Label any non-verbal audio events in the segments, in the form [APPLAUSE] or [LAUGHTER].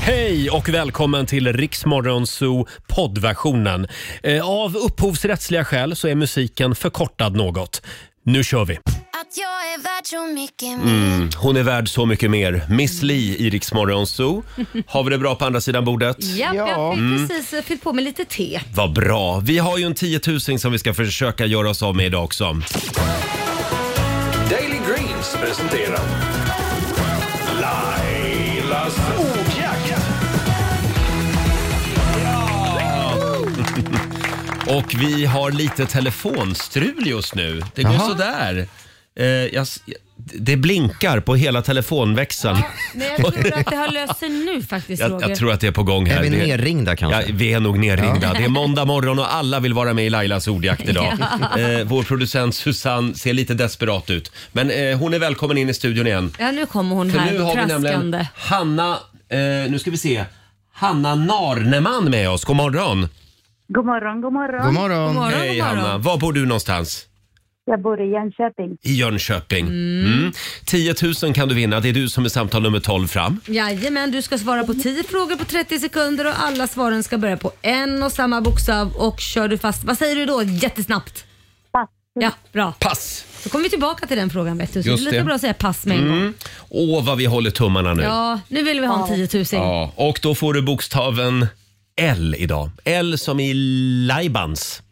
Hej och välkommen till Riksmorgon Zoo poddversionen. Eh, Av upphovsrättsliga skäl så är musiken förkortad något. Nu kör vi! Att jag är värd så mycket mer. Mm, hon är värd så mycket mer. Miss Li i Riksmorgon Zoo. Har vi det bra på andra sidan bordet? Ja, jag Mm. fick precis eh, fyllt på med lite te. Vad bra. Vi har ju en tiotusing som vi ska försöka göra oss av med idag också. Daily Greens presenterar Lailas ordjakt. [LAUGHS] Och vi har lite telefonstrul just nu. Det går Jaha. sådär. Eh, jag, s- det blinkar på hela Ah, telefonväxeln. Men jag tror att det [LAUGHS] har löst sig nu faktiskt Jag, Roger. jag tror att det är på gång här. Är vi Det- nerringda kanske? Ja, vi är nog nerringda. Det är måndag morgon och alla vill vara med i Lailas ordjakt idag. [LAUGHS] Ja. Eh, vår producent Susanne ser lite desperat ut. Men eh, hon är välkommen in i studion igen. Ja, nu kommer hon För här nu har vi nämligen traskande. Hanna, eh, nu ska vi se, Hanna Narneman med oss. God morgon! God morgon, god morgon. God morgon. God morgon, Hej god Hanna! morgon. Var bor du någonstans? Jag bor i Jönköping. I Jönköping. Mm. 10 000 kan du vinna. Det är du som är samtal nummer 12 fram. Jajamän, du ska svara på 10 frågor på 30 sekunder och alla svaren ska börja på en och samma bokstav och kör du fast, vad säger du då jättesnabbt? Pass. Ja, bra. Pass! Då kommer vi tillbaka till den frågan vet du. Så det är Just lika det. Mm. bra att säga pass med en gång. Åh, vad vi håller tummarna nu. Ja, nu vill vi ha en 10 000. Ja, och då får du bokstaven L idag. L som i Laibans.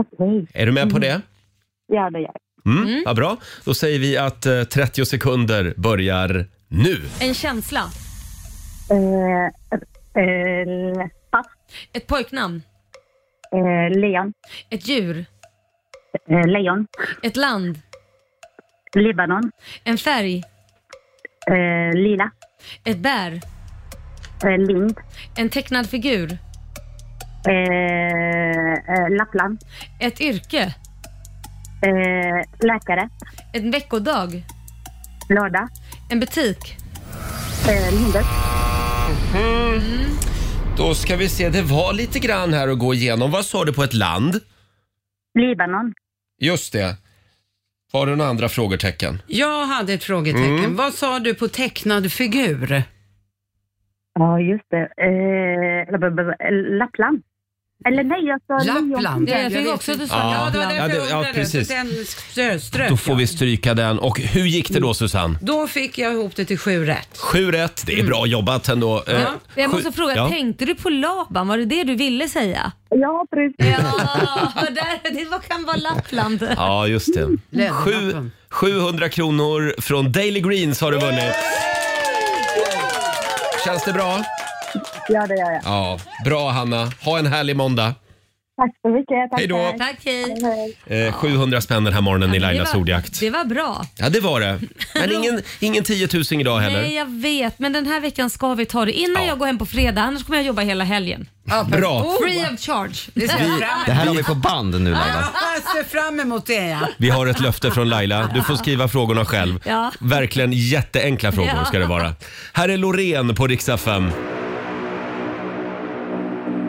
Okej, Är du med på det? ja det gör jag. Mm, Vad bra. Då säger vi att eh, 30 sekunder börjar nu. En känsla. Eh, eh, pass. Ett pojknamn. Eh, Leon. Ett djur. Eh, Leon. Ett land. Libanon. En färg. Eh, lila. Ett bär. Eh, Lind. En tecknad figur. Eh, eh, Lappland. Ett yrke. Eh, läkare. En veckodag. Lördag. En butik. Eh, Lindus. Då ska vi se, det var lite grann här att gå igenom. Vad sa du på ett land? Libanon. Just det. Har du några andra frågetecken? Jag hade ett frågetecken. Mm. Vad sa du på tecknad figur? Ja, just det. Eh, b- b- b- Lappland. Eller nej, jag sa Leon. Lappland. Jag fick vet också inte. att du sa Ja, det var Lappland. Ja, därför det- ja, jag undrade. precis. Så den strö- strök Då får jag. vi stryka den. Och hur gick det då Susanne? Då fick jag ihop det till sju rätt. 7 rätt. Det är bra jobbat ändå. Eh, Ja. Jag måste sju- fråga, Ja. tänkte du på Laban? Var det det du ville säga? Ja, [LAUGHS] precis. Ja, där, det var, kan vara Lappland. Ja, just det. Sju, Lönnappen. 700 kronor från Daily Greens har du vunnit. Känns det bra? Ja, det gör jag. Ja, bra Hanna. Ha en härlig måndag. Tack så mycket. Tack, Hej då. tack. Tack, hej. Hej. Eh, 700 spänn den här morgonen i Det Lailas var- ordjakt. Det var bra. Ja, det var det. [LAUGHS] Men ingen, ingen 10 000 idag Nej, heller. jag vet, men den här veckan ska vi ta det innan Ja. jag går hem på fredag, annars kommer jag jobba hela helgen. Bra. Free of charge. Det ser jag fram Det emot. här har vi på band nu Laila. Jag ser fram emot det, ja. Vi har ett löfte från Laila. Du får skriva frågorna själv. Ja. Verkligen jätteenkla frågor Ja. ska det vara. Här är Loreen på riksdag 5.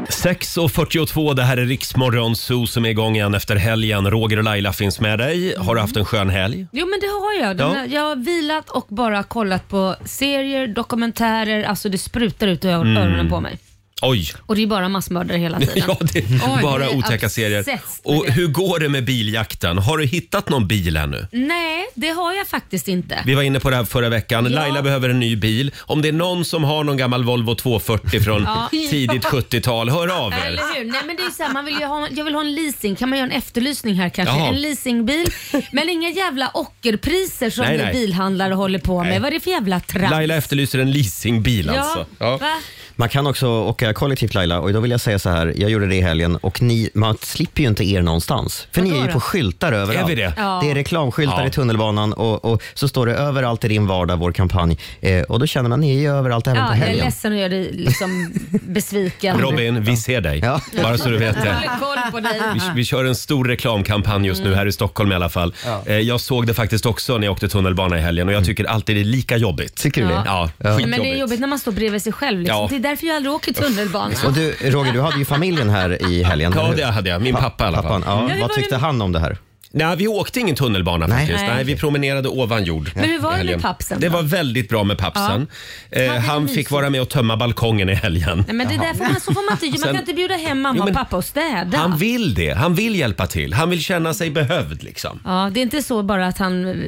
6.42, det här är Riksmorgon Zoo som är igång igen efter helgen. Roger och Laila finns med dig. Har du haft en skön helg? Jo men det har jag. Den Ja. här, jag har vilat och bara kollat på serier, dokumentärer, alltså det sprutar ut ur öronen på mig. Oj! [LAUGHS] Och det är bara massmördare hela tiden. Mm. Ja, det är Oj, bara jag är otäcka obsessed serier. med Och det. hur går det med biljakten? Har du hittat någon bil ännu? Nej, det har jag faktiskt inte. Vi var inne på det här förra veckan. Ja. Laila behöver en ny bil. Om det är någon som har någon gammal Volvo 240 från [LAUGHS] Ja. tidigt 70-tal, hör av er. Eller hur? Nej, men det är ju så här, man vill ju ha, jag vill ha en leasing. Kan man göra en efterlysning här kanske? Jaha. En leasingbil. Men inga jävla ockerpriser som Nej, ni nej. bilhandlare håller på med. Nej. Vad är det för jävla trams? Laila efterlyser en leasingbil ja, alltså. Va? Man kan också åka kollektivt Laila och då vill jag säga så här, jag gjorde det i helgen och ni, man slipper ju inte er någonstans. För ni Vadå är ju då? på skyltar överallt. Är vi det? Ja. är reklamskyltar Ja. i tunnelbanan och, och så står det överallt i din vardag, vår kampanj. Eh, och då känner man, ni är ju överallt även på Ja, jag är helgen. ledsen att göra dig liksom besviken. Robin, vi ser dig. Ja. Bara så du vet Jag det. [LAUGHS] håller koll på dig. Vi, vi kör en stor reklamkampanj just Mm. nu här i Stockholm i alla fall. Eh, Jag såg det faktiskt också när jag åkte tunnelbana i helgen och jag tycker alltid det är lika jobbigt. Mm. Tycker du det? Ja, Men det är skitjobbigt. jobbigt när man står bredvid sig själv. Liksom. Ja. Det är därför jag aldrig åker tunnelbana. Och du, Roger, du hade ju familjen här i helgen. Ja, eller hur? det hade jag. Min pappa i alla fall. Pappan, ja, det var vad tyckte han om det här? Nej, vi åkte ingen tunnelbana Nej. faktiskt. Nej. Nej, vi promenerade ovan jord. Men hur var det i med helgen. pappsen Det då? var väldigt bra med pappsen. Eh, Hade han det fick mysigt? vara med och tömma balkongen i helgen. Nej, men det där får man, så får man inte Man Sen- kan inte bjuda hem mamma Jo, men- och pappa och städa. Han vill det. Han vill hjälpa till. Han vill känna sig behövd liksom. Ja, det är inte så bara att han...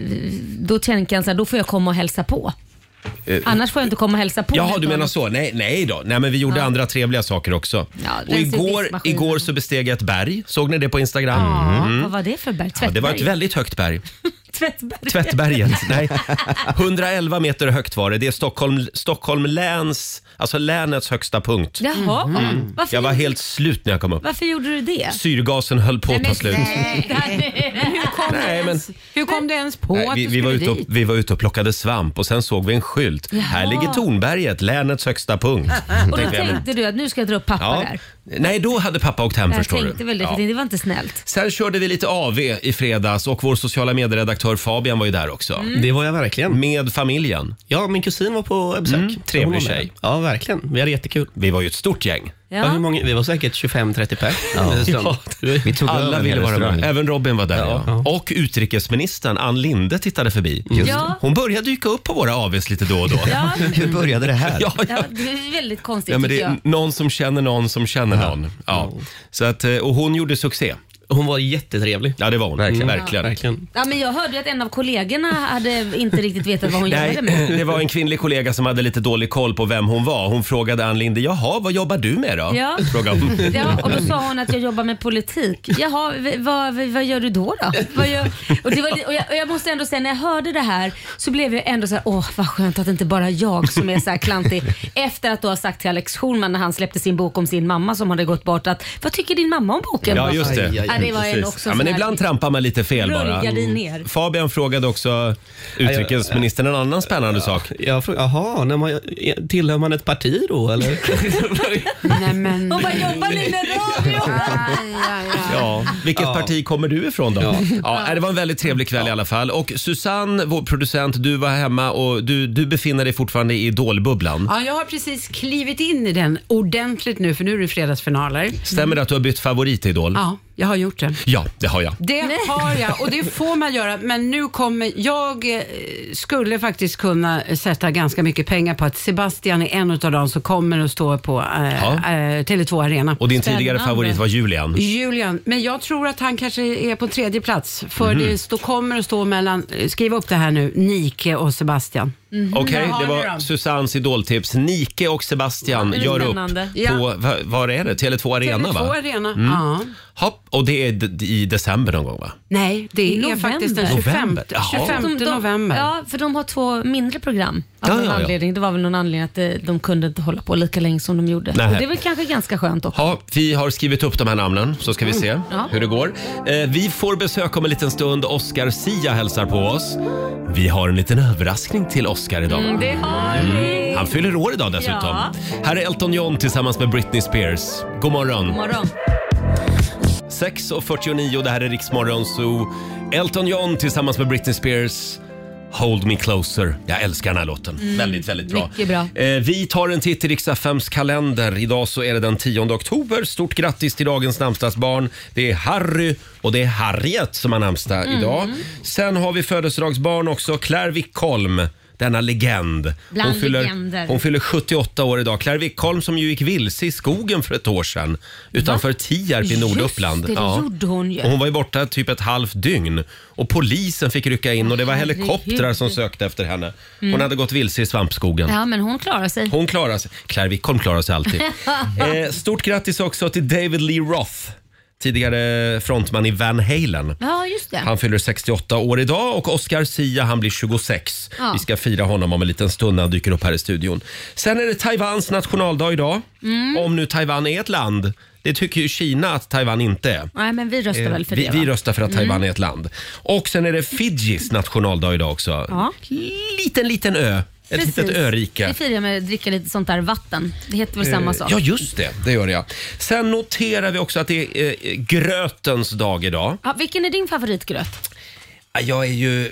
Då tänker han så här, då får jag komma och hälsa på. Eh, Annars får jag inte komma och hälsa på. Jaha, vet du menar så. Nej, nej då. Nej, men vi gjorde Ja. andra trevliga saker också. Ja, och rensa igår, diskmaskinen. igår så besteg jag ett berg. Såg ni det på Instagram? Ja, Mm. vad var det för berg? Tvättberg? Ja, det var ett väldigt högt berg. Tvättberg. Tvättberget. [LAUGHS] Nej. 111 meter högt var det. Det är Stockholm, Stockholm läns, alltså länets högsta punkt. Jaha, Mm. varför, Jag var helt slut när jag kom upp. varför gjorde du det? Syrgasen höll på att ta slut. Hur kom, det Nej, men- alltså. ens, hur kom det ens på Nej, att vi, du vi, skulle var ute och, dit? vi var ute och plockade svamp och sen såg vi en skylt. Här ligger Tornberget, länets högsta punkt. [LAUGHS] Och då Tänkte jag, men- tänkte du att nu ska jag dra upp pappa Ja. där. Nej, då hade pappa åkt hem Jag förstår tänkte du. väl det, för Ja. det var inte snällt. Sen körde vi lite AV i fredags och vår sociala medieredaktör Fabian var ju där också. Mm. Det var jag verkligen. Med familjen. Ja, min kusin var på besök. Mm. trevlig Hon var med. tjej. Ja, verkligen. Vi hade jättekul. Vi var ju ett stort gäng. Ja. Ja. hur många? Vi var säkert 25-30 pers. En stund. Ja, Vi tog över Alla en ville hel vara med. restaurang. Även Robin var där. Ja. Och utrikesministern Ann Linde tittade förbi. Ja. Hon började dyka upp på våra AVs lite då och då. [LAUGHS] Ja, Hur började det här? Ja, ja. ja, det är väldigt konstigt Ja, men det tycker är jag. någon som känner någon som känner någon. Ja. Så att, eh, och hon gjorde succé. Hon var jättetrevlig. Mm. Ja, det var hon. Mm. Verkligen. Verkligen. Verkligen. Ja, men jag hörde ju att en av kollegorna hade inte riktigt vetat vad hon Nej, jobbade [LAUGHS] med. det var en kvinnlig kollega som hade lite dålig koll på vem hon var. Hon frågade Ann Linde, jaha, vad jobbar du med då? Ja. Frågade [LAUGHS] hon. Ja, och då sa hon att jag jobbar med politik. Jaha, v- vad, v- vad gör du då? då? Vad gör, och, det var, li- och, jag, och jag måste ändå säga, när jag hörde det här så blev jag ändå så här, åh vad skönt att det inte bara är jag som är så här klantig. Efter att du har sagt till Alex Schulman när han släppte sin bok om sin mamma som hade gått bort att, vad tycker din mamma om boken? Ja, just det. Aj, aj, aj. Ja, det var en Precis. också ja, sån men här- ibland trampar man lite fel bara. Rullgardin ner. Fabian frågade också utrikesministern en annan spännande sak. Jag frågade, jaha, när man, tillhör man ett parti då eller? Nej, men... Hon bara, jobbar ni med radio? Aj, aj, aj. Ja. Vilket parti kommer du ifrån då? Ja. Ja. nej, det var en väldigt trevlig kväll i alla fall. Och Susanne, vår producent, du var hemma och du, du befinner dig fortfarande i idolbubblan. Ja, jag har precis klivit in i den ordentligt nu, för nu är det fredagsfinaler. Stämmer det att du har bytt favoritidol? Ja, jag har gjort det. Ja, det har jag. Det har jag och det får man göra. Men nu kommer, jag eh, skulle faktiskt kunna sätta ganska mycket pengar på att Sebastian är en av dem som kommer att stå på eh, Ja. eh, Tele2 Arena. Och din Spännande. tidigare favorit var Julian. Julian, men jag tror att han kanske är på tredje plats. Mhm. För det stå, kommer att stå mellan, eh, skriv upp det här nu, Nike och Sebastian. Okej, Där har det ni var dem. Susannes idoltips. Nike och Sebastian Ja, det är gör upp spännande. Ja. på, va- var är det? Tele2 Arena Tele2 va? Mm. Arena, ja. Hopp, och det är d- i december någon gång va? Nej, det är November. faktiskt den 25, November, jaha. 25 De- de- november. Ja, för de har två mindre program. Av Ja, någon ja, ja. Anledning. Det var väl någon anledning att eh, de kunde inte hålla på lika länge som de gjorde. Nej. Och det är väl kanske ganska skönt också. Ja, vi har skrivit upp de här namnen så ska vi se Mm. Ja. hur det går. Eh, vi får besök om en liten stund. Oscar Sia hälsar på oss. Vi har en liten överraskning till Oscar idag. Mm, det har vi. Han fyller år idag dessutom. Ja. Här är Elton John tillsammans med Britney Spears. God morgon. God morgon. 6.49, det här är Riksmorgon Zoo. Elton John tillsammans med Britney Spears. Hold me closer. Jag älskar den här låten. Mm. Väldigt, väldigt bra. mycket bra. Eh, vi tar en titt i riks FMs kalender. Idag så är det den 10 oktober. Stort grattis till dagens namnsdagsbarn. Det är Harry och det är Harriet som har namnsdag Mm. idag. Sen har vi födelsedagsbarn också. Claire Wickholm. Denna legend. Bland fyller, legender. hon fyller 78 år idag. Claire Wickholm som ju gick vilse i skogen för ett år sedan utanför Tierp i Norduppland. Just det, det gjorde hon ju. Och hon var ju borta typ ett halvt dygn och polisen fick rycka in och det var Herregud. Mm. helikoptrar som sökte efter henne. Hon hade gått vilse i svampskogen. Ja, men hon klarar sig. Hon klarar sig. Claire Wickholm klarar sig [LAUGHS] alltid. eh, stort grattis också till David Lee Roth, tidigare frontman i Van Halen. Ja, just det. Han fyller 68 år idag och Oscar Sia han blir 26. Ja. Vi ska fira honom om en liten stund när han dyker upp här i studion. Sen är det Taiwans nationaldag idag. Mm. Om nu Taiwan är ett land. Det tycker ju Kina att Taiwan inte är. Nej, men vi röstar väl för Eh, vi, det vi va? Mm. röstar för att Taiwan är ett land. Och sen är det Fidjis nationaldag idag också. Ja. Liten, liten ö. Ett Precis. litet Det örike. Eh, firar jag med att dricka lite sånt där vatten. Det heter väl samma sak? Ja, just det. Det gör jag. Sen noterar vi också att det är eh, grötens dag idag. Ja, vilken är din favoritgröt? Ja, Jag är ju...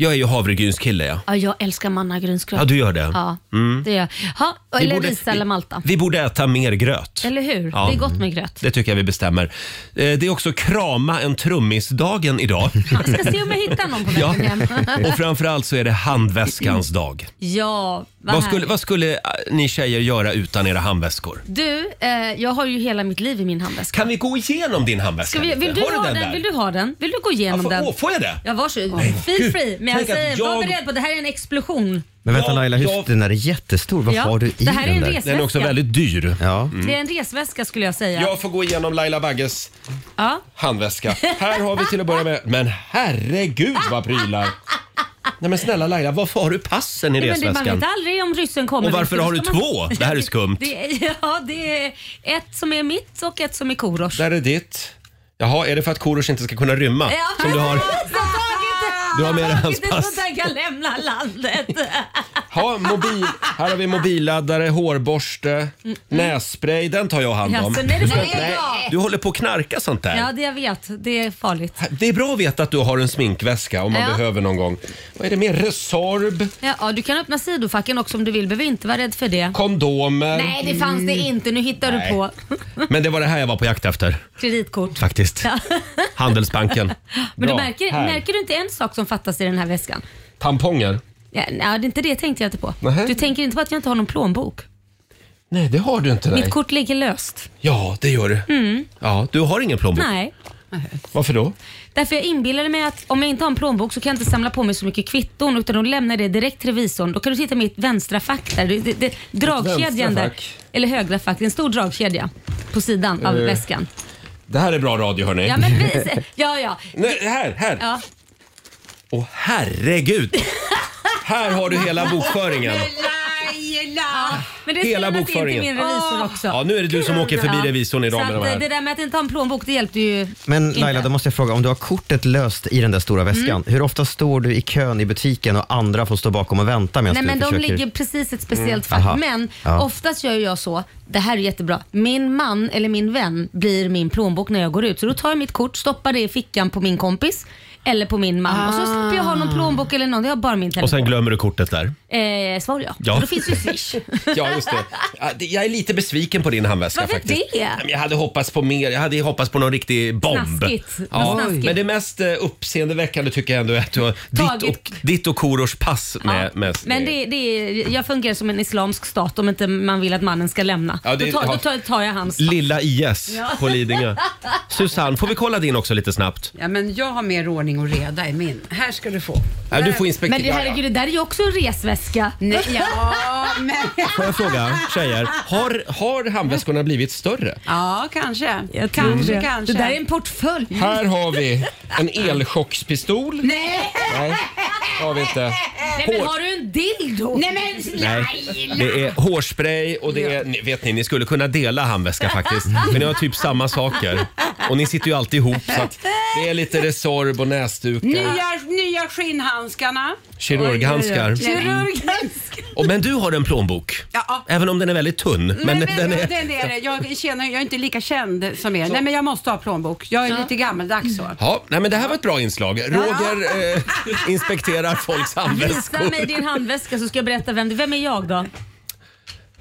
Jag är ju havregrynskille ja. Ja, jag älskar mannagrynsgröt. Ja, du gör det. Mm. Ja, det gör jag. Ha, eller ris eller Malta. Vi, vi borde äta mer gröt. Eller hur? Ja. Det är gott med gröt. Det tycker jag vi bestämmer. Eh, Det är också krama en trummisdagen [LAUGHS] idag. Jag ska se om jag hittar någon på Ja. vägen hem. Och framförallt så är det handväskans dag. [LAUGHS] Ja, vad, Vad skulle, härligt. vad skulle eh, ni tjejer göra utan era handväskor? Du, eh, jag har ju hela mitt liv i min handväska. Kan vi gå igenom din handväska Ska vi, lite? vill, du Har ha den där? vill du ha den? Vill du gå igenom Ja, får- den? åh, får jag det? Ja, varsågod. Feel Gud, free. Men jag tänk att säger, var jag- beredd på det här är en explosion. Men vänta Ja, Laila, hur, jag- den där är jättestor. Vad Ja, har du i det här är den en där? res- Den är också väldigt dyr. Ja. Det är en resväska skulle jag säga. Jag får gå igenom Laila Bagges Ja. handväska. Här har vi till att börja med, men herregud vad prylar! Nej men snälla Laila, varför har du passen i Nej, men det, man resväskan? vet aldrig om ryssen kommer. Och varför Då har du ska man- två? Det här är skumt. Det är, ja, det är ett som är mitt och ett som är Korosh. Där är ditt. Jaha, är det för att Korosh inte ska kunna rymma? Ja, Som du har, du har med dig hans Det är sånt pass. där kan lämna landet. Ha, mobil. Här har vi mobilladdare, Mm, hårborste, nässpray. Den tar jag hand om. Jaså, nej, det Du ska- var det jag. Du håller på att knarka sånt där. Ja, det jag vet. Det är farligt. Det är bra att veta att du har en sminkväska om man Ja. behöver någon gång. Vad är det mer? Resorb, Ja, ja, du kan öppna sidofacken också om du vill. Behöver inte vara rädd för det. kondomer. Nej, det fanns det inte. Nu hittar Nej. du på Men det var det här jag var på jakt efter kreditkort. faktiskt. Handelsbanken. [LAUGHS] [GASPS] Men du Bra. märker, Här. märker du inte en sak som fattas i den här väskan? Tamponger. Ja, nej, det är inte det tänkte jag inte på. Nähä. Du tänker inte på att jag inte har någon plånbok? Nej, det har du inte. Nej. Mitt kort ligger löst. Ja, det gör du. Ja, du har ingen plånbok. Nej. Varför då? Därför jag inbillade mig att om jag inte har en plånbok så kan jag inte samla på mig så mycket kvitton utan då lämnar jag det direkt till revisorn. Då kan du titta i mitt vänstra fack där. Det, det, det, dragkedjan vänstra där. fack. Eller högra fack. Det är en stor dragkedja på sidan av Eh. väskan. Det här är bra radio hörni. Ja, men [LAUGHS] precis. Ja, ja. Nej, här, här. ja. Åh herregud! här har du hela bokföringen. Laila! Men det Hela spelas in till bokföringen. min revisor också. Ja, nu är det du som åker förbi Ja. revisorn idag med så de att, eh, det här. där med att inte ha en plånbok det hjälpte ju Men inte. Mm. Laila, då måste jag fråga, om du har kortet löst i den där stora väskan, hur ofta står du i kön i butiken och andra får stå bakom och vänta medan Nej du men de försöker... ligger precis ett speciellt Aha. fack. Men Ja. oftast gör jag så, det här är jättebra, min man eller min vän blir min plånbok när jag går ut. Så då tar jag mitt kort, stoppar det i fickan på min kompis eller på min man och så slipper jag ha någon plånbok eller någon, jag har bara min Och telefon. sen glömmer du kortet där. Eh, svar ja. Ja. Och Då finns ju Swish. Ja, just det. Ja, det- Jag är lite besviken på din handväska Varför faktiskt. det? Nej, men Jag hade hoppats på mer. Jag hade hoppats på någon riktig bomb. Snaskigt. Något Ja, snaskigt. men det mest eh, uppseendeväckande tycker jag ändå är att du har ditt och, Tagit- ditt och Korosh pass med. Ja. med Men det, det är, jag fungerar som en islamsk stat om inte man vill att mannen ska lämna. Ja, det- då, tar, ja. då tar, tar jag hans. Lilla IS på Lidingö. Susanne, får vi kolla din också lite snabbt? Ja, men jag har mer ordning och reda i min. Här ska du få. Ja, du får inspektera. Men det, herregud, det där är ju också en resväska. Nej, [LAUGHS] ja, men... Får jag fråga tjejer, har, har handväskorna blivit större? Ja, kanske. Jag tror kanske, det. kanske. Det där är en portfölj. Här har vi en elchockspistol. Nej! Nej, det har vi inte. Nej, Hår- men har du en dildo? Nej men Nej, det är hårspray och det är, ni- vet ni, ni skulle kunna dela handväska faktiskt. Men ni har typ samma saker. Och ni sitter ju alltid ihop så att det är lite Resorb och näsdukar, Nya, nya skinnhandskarna. kirurghandskar. Kirurgen. Och, men du har en plånbok. Ja. Även om den är väldigt tunn. Men Nej, den men, är... den är det. Jag känner, jag är inte lika känd som er. Nej men jag måste ha plånbok. Jag är lite gammaldags så. Ja, nej men det här var ett bra inslag. Roger eh, inspekterar folks Visa handväskor. mig din handväska så ska jag berätta vem du Vem är jag då?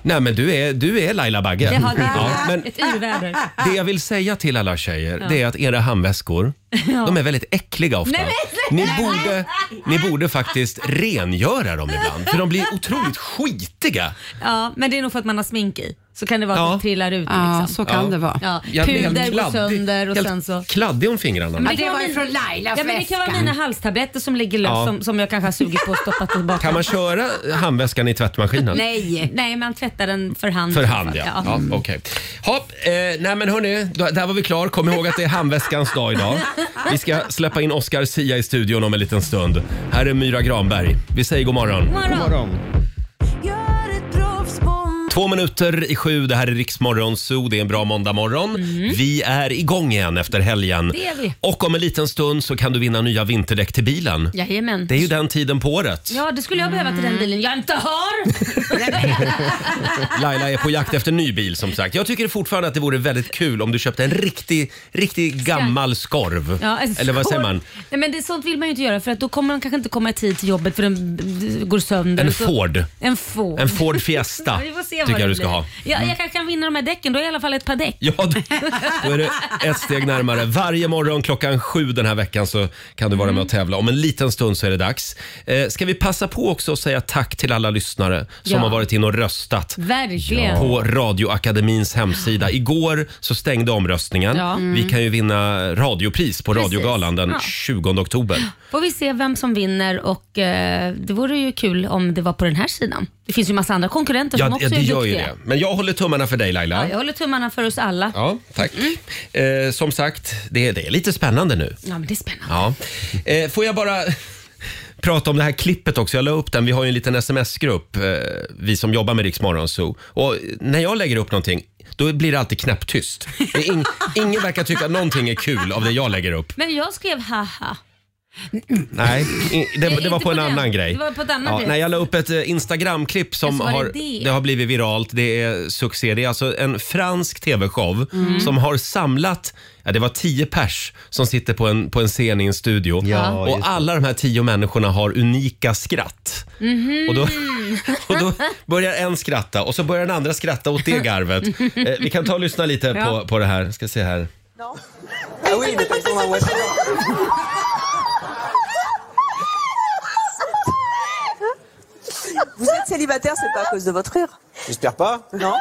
Nej men du är, du är Laila Bagge. Jag har det. Ja, men Ett yrväder. Det jag vill säga till alla tjejer det är att era [LAUGHS] handväskor, de är väldigt äckliga ofta. Nej, men- Ni borde, ni borde faktiskt rengöra dem ibland, för de blir otroligt skitiga. Ja, men det är nog för att man har smink i. Så kan det vara att Ja. det trillar ut Ja, liksom. så kan Ja. det vara. Ja, Jag blir helt puder går kladdig- sönder och helt sen så... Kladdig om fingrarna. det kan var vara ju min- från Lailas ja, men Det kan vara väska. mina halstabletter som ligger löst Ja. som, som jag kanske har sugit på och stoppat tillbaka. Kan man köra handväskan i tvättmaskinen? Nej. Nej, man tvättar den för hand. För hand ja. ja. ja Okej. Hopp, eh, nej men hörni, då- där var vi klar. Kom ihåg att det är handväskans dag idag. Vi ska släppa in Oscar Sia i studion om en liten stund. Här är Myra Granberg. Vi säger god morgon. God morgon. God morgon. Två minuter i sju, det här är Riksmorgon Zoo. Det är en bra måndagmorgon. Vi är igång igen efter helgen. Mm. Det är vi. Och om en liten stund så kan du vinna nya vinterdäck till bilen. Jajamän. Det är ju den tiden på [LAUGHS] året. Ja, det skulle jag behöva till den bilen jag [LAUGHS] inte har. Laila är på jakt efter ny bil som sagt. Jag tycker fortfarande att det vore väldigt kul om du köpte en riktig, riktig gammal skorv. Ja, en Eller vad säger skål. man? Nej, men det, sånt vill man ju inte göra för att då kommer de kanske inte komma i tid till jobbet för den b- b- går sönder. En Och så- Ford. En Ford. En Ford Fiesta [LAUGHS] Vi får se vad tycker jag det du ska blir. ha. Mm. Ja, jag kanske kan vinna de här däcken, då är jag i alla fall ett par däck. Ja, då- då är det ett steg närmare. Varje morgon klockan sju den här veckan så kan du vara med och tävla. Om en liten stund så är det dags. Eh, ska vi passa på också att säga tack till alla lyssnare som Ja. har varit in och röstat. Verkligen. På Radioakademins hemsida. Igår så stängde omröstningen. Ja. Mm. Vi kan ju vinna radiopris på Precis. Radiogalan den Ja. 20 oktober. Får vi se vem som vinner och eh, det vore ju kul om det var på den här sidan. Det finns ju massa andra konkurrenter som Ja, också ja, det är gör ju duktiga. det. Men jag håller tummarna för dig Laila. Ja, Mm. jag håller tummarna för oss alla. Ja, Ja, tack. Eh, som sagt, det, det är lite spännande nu. men det är spännande. Ja. Eh, får jag bara [LAUGHS] prata om det här klippet också. Jag la upp den. Vi har ju en liten sms-grupp, eh, vi som jobbar med Rix Morgon Zoo. Och när jag lägger upp någonting, då blir det alltid knäpptyst. Det är ing- ingen verkar tycka att någonting är kul av det jag lägger upp. Men jag skrev haha. Nej, i- det, det Inte var på en den. annan grej. Det var på ett annat Ja, grej. nej, jag la upp ett eh, Instagram-klipp som Ja, så var det har, det. det har blivit viralt. Det är succé. Det är alltså en fransk tv-show Mm. som har samlat Ja, det var tio pers som sitter på en, på en scen i en studio Ja, och just det. alla de här tio människorna har unika skratt. Mhm. Och, då, [LAUGHS] och då börjar en skratta och så börjar den andra skratta åt det garvet. [LAUGHS] Eh, vi kan ta och lyssna lite på, på det här. Ska se här. Ah oui, mais pas sur ma voiture. Vous êtes célibataire, c'est pas à cause de votre rire. J'espère pas. Non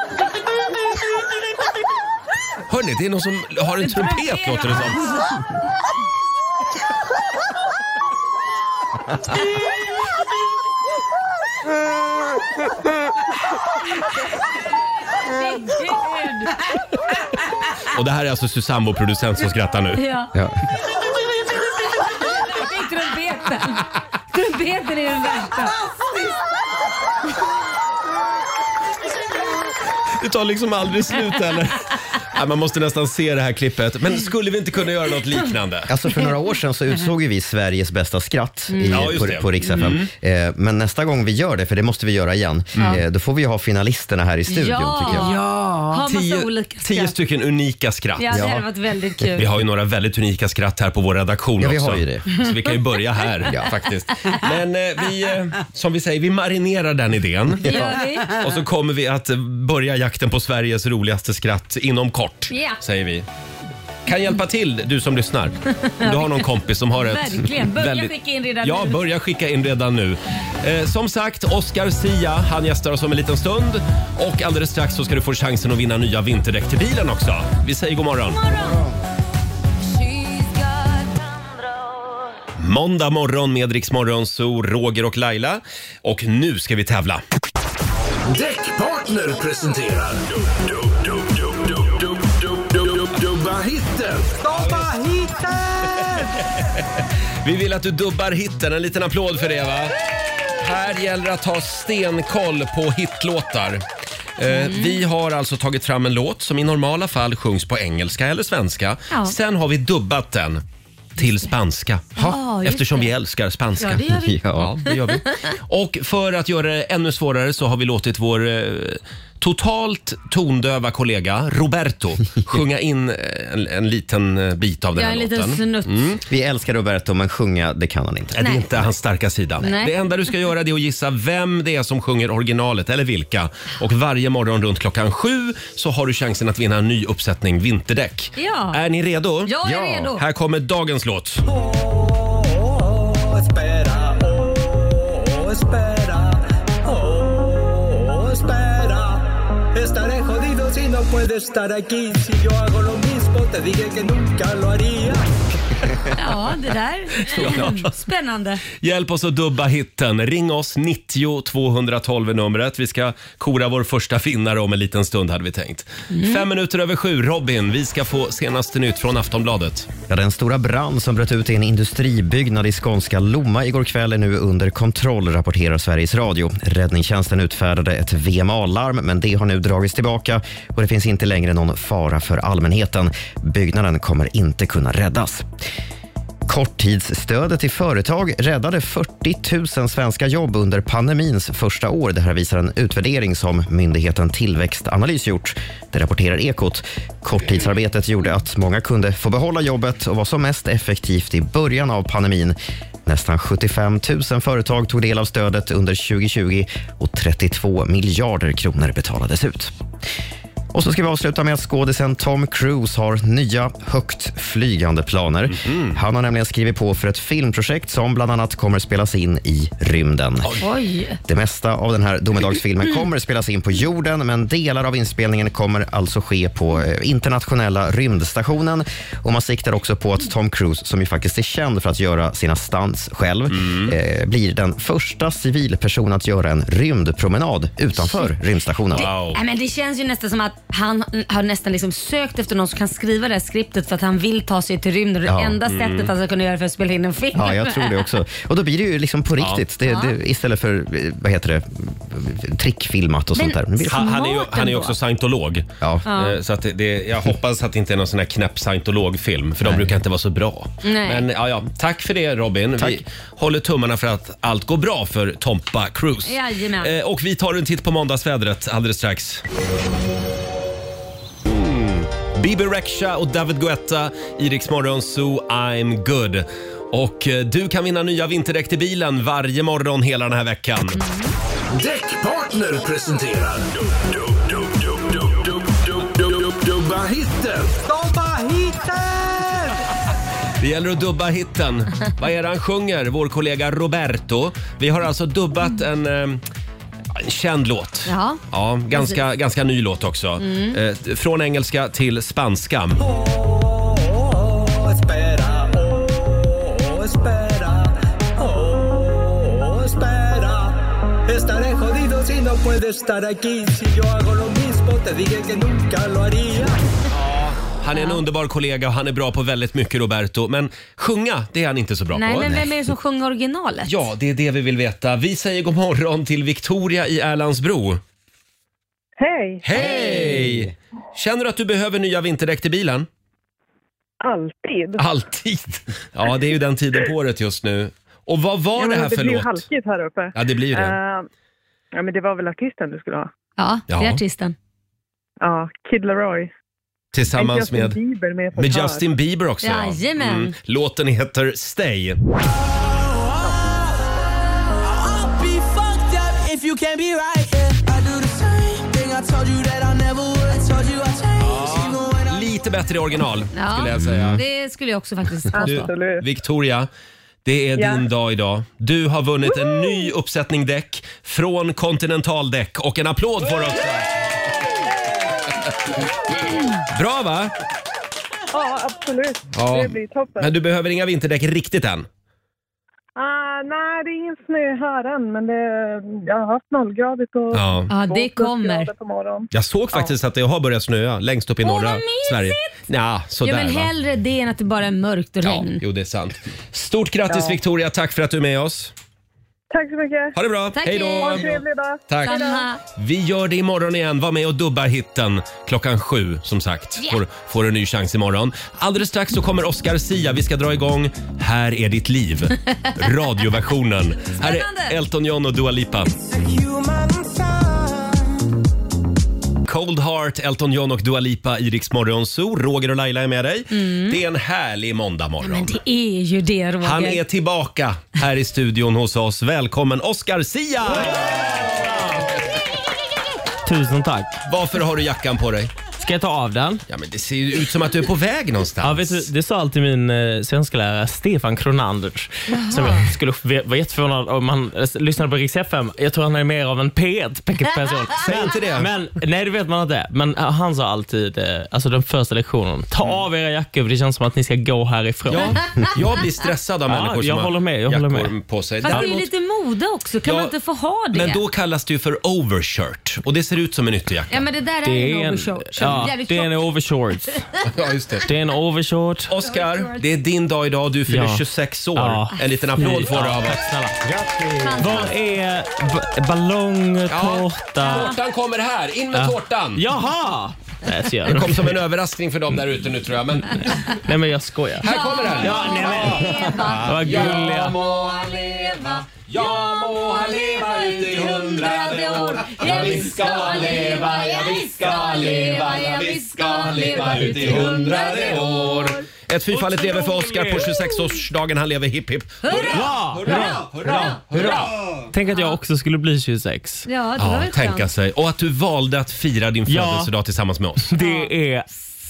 Hörni, det är någon som har en trumpet låter det som. Och det här är alltså Susanne, vår producent, som skrattar nu. Ja. Det är trumpeten. Trumpeten är den värsta. Det tar liksom aldrig slut heller. Nej, man måste nästan se det här klippet. Men skulle vi inte kunna göra något liknande? Alltså för några år [LAUGHS] sedan så utsåg ju vi Sveriges bästa skratt Mm. i, Ja, just på, det. på Rix FM. Eh, men nästa gång vi gör det, för det måste vi göra igen, eh, då får vi ju ha finalisterna här i studion Mm. Ja. tycker jag. Ja. Ha massa Tio, olika skratt. tio stycken unika skratt. Ja, det hade varit väldigt kul. Vi har ju några väldigt unika skratt här på vår redaktion Ja, vi också. har ju det. Så vi kan ju börja här faktiskt. Men eh, vi, eh, som vi säger, vi marinerar den idén. Det gör vi. Och så kommer vi att eh, börja jakten på Sveriges roligaste skratt inom kort, Ja. säger vi. Kan hjälpa till, du som lyssnar. Om du har någon kompis som har ett... Verkligen. Börja skicka in redan ja, nu. börja skicka in redan nu. Eh, som sagt, Oscar Sia, han gästar oss om en liten stund. Och alldeles strax så ska du få chansen att vinna nya vinterdäck till bilen också. Vi säger god morgon. Måndag morgon med Rix Morgon, så Roger och Laila. Och nu ska vi tävla. Däckpartner presenterar... Dub, dub, dub, dub, dub, dub, dub, dub, dub, Dubba hitten! Vi vill att du dubbar hitten. En liten applåd för det va? Här gäller det att ha stenkoll på hitlåtar. Eh, Mm. Vi har alltså tagit fram en låt som i normala fall sjungs på engelska eller svenska. Ja. Sen har vi dubbat den till spanska. Ja, just Eftersom det. vi älskar spanska. Ja, det gör [LAUGHS] vi. Ja, det gör vi. Och för att göra det ännu svårare så har vi låtit vår eh, totalt tondöva kollega Roberto [LAUGHS] sjunga in eh, en, en liten eh, bit av den Jag är här låten. Mm. en liten snutt. Vi älskar Roberto, men sjunga, det kan han inte. Nej, det är Nej. inte hans starka sida. Nej. Det enda du ska göra det är att gissa vem det är som sjunger originalet eller vilka. Och varje morgon runt klockan sju så har du chansen att vinna en ny uppsättning vinterdäck. Ja. Är ni redo? Jag är redo. Här kommer dagens låt. Oh, espera. Oh, espera. Oh, espera. Estaré jodido si no puedo estar aquí. Si yo hago lo mismo, te dije que nunca lo haría. Ja, det där. Såklart. Spännande. Hjälp oss att dubba hitten. Ring oss 90 212 är numret. Vi ska kora vår första finnare om en liten stund hade vi tänkt. Mm. Fem minuter över sju. Robin, vi ska få senaste nytt från Aftonbladet. Ja, den stora brand som bröt ut i en industribyggnad i skånska Lomma igår kväll är nu under kontroll, rapporterar Sveriges Radio. Räddningstjänsten utfärdade ett VMA-larm, men det har nu dragits tillbaka och det finns inte längre någon fara för allmänheten. Byggnaden kommer inte kunna räddas. Korttidsstödet till företag räddade 40 000 svenska jobb under pandemins första år. Det här visar en utvärdering som myndigheten Tillväxtanalys gjort. Det rapporterar Ekot. Korttidsarbetet gjorde att många kunde få behålla jobbet och var som mest effektivt i början av pandemin. Nästan 75 000 företag tog del av stödet under 2020 och 32 miljarder kronor betalades ut. Och så ska vi avsluta med att skådisen Tom Cruise har nya högt flygande planer. Han har nämligen skrivit på för ett filmprojekt som bland annat kommer spelas in i rymden. Oj. Det mesta av den här domedagsfilmen kommer spelas in på jorden men delar av inspelningen kommer alltså ske på eh, internationella rymdstationen. Och Man siktar också på att Tom Cruise, som ju faktiskt är känd för att göra sina stunts själv, eh, blir den första civilperson att göra en rymdpromenad utanför rymdstationen. Nej, men det känns ju nästan som att han har nästan liksom sökt efter någon som kan skriva det här skriptet för att han vill ta sig till rymden. Ja. Det enda Mm. sättet han ska kunna göra för att spela in en film. Ja, jag tror det också. Och då blir det ju liksom på Ja. riktigt. Det, det, istället för, eh, vad heter det, trickfilmat och Men sånt där. Nu blir det- Han, han är ju han är ju också scientolog. Ja. Eh, Så att det- det, jag hoppas att det inte är någon sån här knäpp scientologfilm, för de brukar inte vara så bra. Nej. Men ja, ja, tack för det Robin. Vi håller tummarna för att allt går bra för Tompa Cruise. Jajamän. Eh, Och vi tar en titt på måndagsvädret alldeles strax. Mm. Bibi Rexha och David Guetta i Rix Morgon Zoo, I'm good. Och eh, du kan vinna nya vinterdäck till bilen varje morgon hela den här veckan. Däckpartner presenterar... Dubba hitten! Dubba hitten! Det gäller att dubba hitten. [LAUGHS] Vad är det han sjunger, vår kollega Roberto? Vi har alltså dubbat en, eh, en känd låt. Mm. Ja. Ja, ganska, Precis. ganska ny låt också. Mm. Eh, från engelska till spanska. Oh, espera, oh, espera, oh, espera. Estaré jodido si no puedo estar aquí. Si yo hago lo mismo, te dije que nunca lo haría. Han är en underbar kollega och han är bra på väldigt mycket Roberto. Men sjunga, det är han inte så bra Nej, på. men vem är det som sjunger originalet? Ja, det är det vi vill veta. Vi säger god morgon till Victoria i Erlandsbro. Hej! Hej! Känner du att du behöver nya vinterdäck till bilen? Alltid. Alltid! Ja, det är ju den tiden på året just nu. Och vad var Ja, men det här det för blir ju låt? halkigt här uppe. Ja, det blir ju det. Eh, ja, men det var väl artisten du skulle ha? Ja, det är Ja. artisten. Ja, Kid Laroi. Tillsammans Är med, Justin Bieber med på med kör? Justin Bieber också. ja. Mm. Jajamän. Låten heter Stay. Be fucked up if you can't be right. I do the same thing I told you that I never would. I told you I changed. Even when Lite bättre i original Ja, skulle jag säga. Det skulle jag också faktiskt påstå. Du, Victoria, det är Ja. din dag idag. Du har vunnit en ny uppsättning däck från Continental Däck och en applåd får du också. Bra va? Ja, absolut. Ja. Det blir toppen. Men du behöver inga vinterdäck riktigt än. Ah, nej, det är ingen snö här än, men det, jag har haft nollgradigt och Ja. Ja, det två kommer. plusgrader på morgon. Jag såg faktiskt att det har börjat snöa längst upp i norra Sverige. Nja, sådär ja, men va. hellre det än att det bara är mörkt och regn. Jo, det är sant. Stort grattis Ja. Victoria, tack för att du är med oss. Tack så mycket. Ha det bra. Tack, Hej då. Ha en trevlig dag. Tack. Hej då. Vi gör det imorgon igen. Var med och dubba hitten klockan sju som sagt. Yeah. Får, får en ny chans imorgon. Alldeles strax så kommer Oscar Sia. Vi ska dra igång Här är ditt liv. Radioversionen. Här är Elton John och Dua Lipa. Cold Heart, Elton John och Dua Lipa i Rix Morgon Zoo. Roger och Laila är med dig. Det är en härlig måndagmorgon. Men det är ju det Roger. Han är tillbaka här i studion hos oss. Välkommen Oscar Sia! Tusen tack. Varför har du jackan på dig? Ska jag ta av den? Ja, men det ser ju ut som att du är på väg någonstans. Ja, vet du, det sa alltid min eh, svenska lärare Stefan Kronander. Jaha. Som jag skulle ve- vara jätteförvånad om han eh, lyssnade på Rix FM. Jag tror han är mer av en P1-person. [LAUGHS] Säg inte det. Men, nej, det vet man inte. Men eh, han sa alltid, eh, alltså den första lektionen, ta av era jackor för det känns som att ni ska gå härifrån. Mm. Ja, jag blir stressad av människor som jag har håller med, jag håller jackor med. på sig. Fast det är ju Däremot- lite mode också. Kan Ja, man inte få ha det? Men då kallas det ju för overshirt och det ser ut som en ytterjacka. Ja, men det där är en overshort. Så Ja, jävligt det är en tjock. overshort. [LAUGHS] ja, just det. det är en overshort. Oscar, det är din dag idag. Du fyller 26 år. En liten [LAUGHS] applåd får du av oss. Snälla. Var är b- ballong, tårta? Tårtan kommer här. In med Ja. tårtan. Jaha! Nej, så gör Det kom [LAUGHS] jag. som en överraskning för dem där ute nu tror jag. Men Nej men jag skojar. här kommer den. Ja, nej, men. Vad Ja, gulliga. må han leva. Ja, må han leva ut i hundrade år. Ja, vi ska leva, ja, vi ska leva, ja, vi ska leva ut i hundrade år. Ett fyrfaldigt lever för Oscar på 26-årsdagen. Han lever hipp hipp. Hurra! Hurra! Tänk att jag också skulle bli 26. Ja, det var Ja, väl tänka skönt. sig. Och att du valde att fira din Ja. födelsedag tillsammans med oss. [LAUGHS] Det är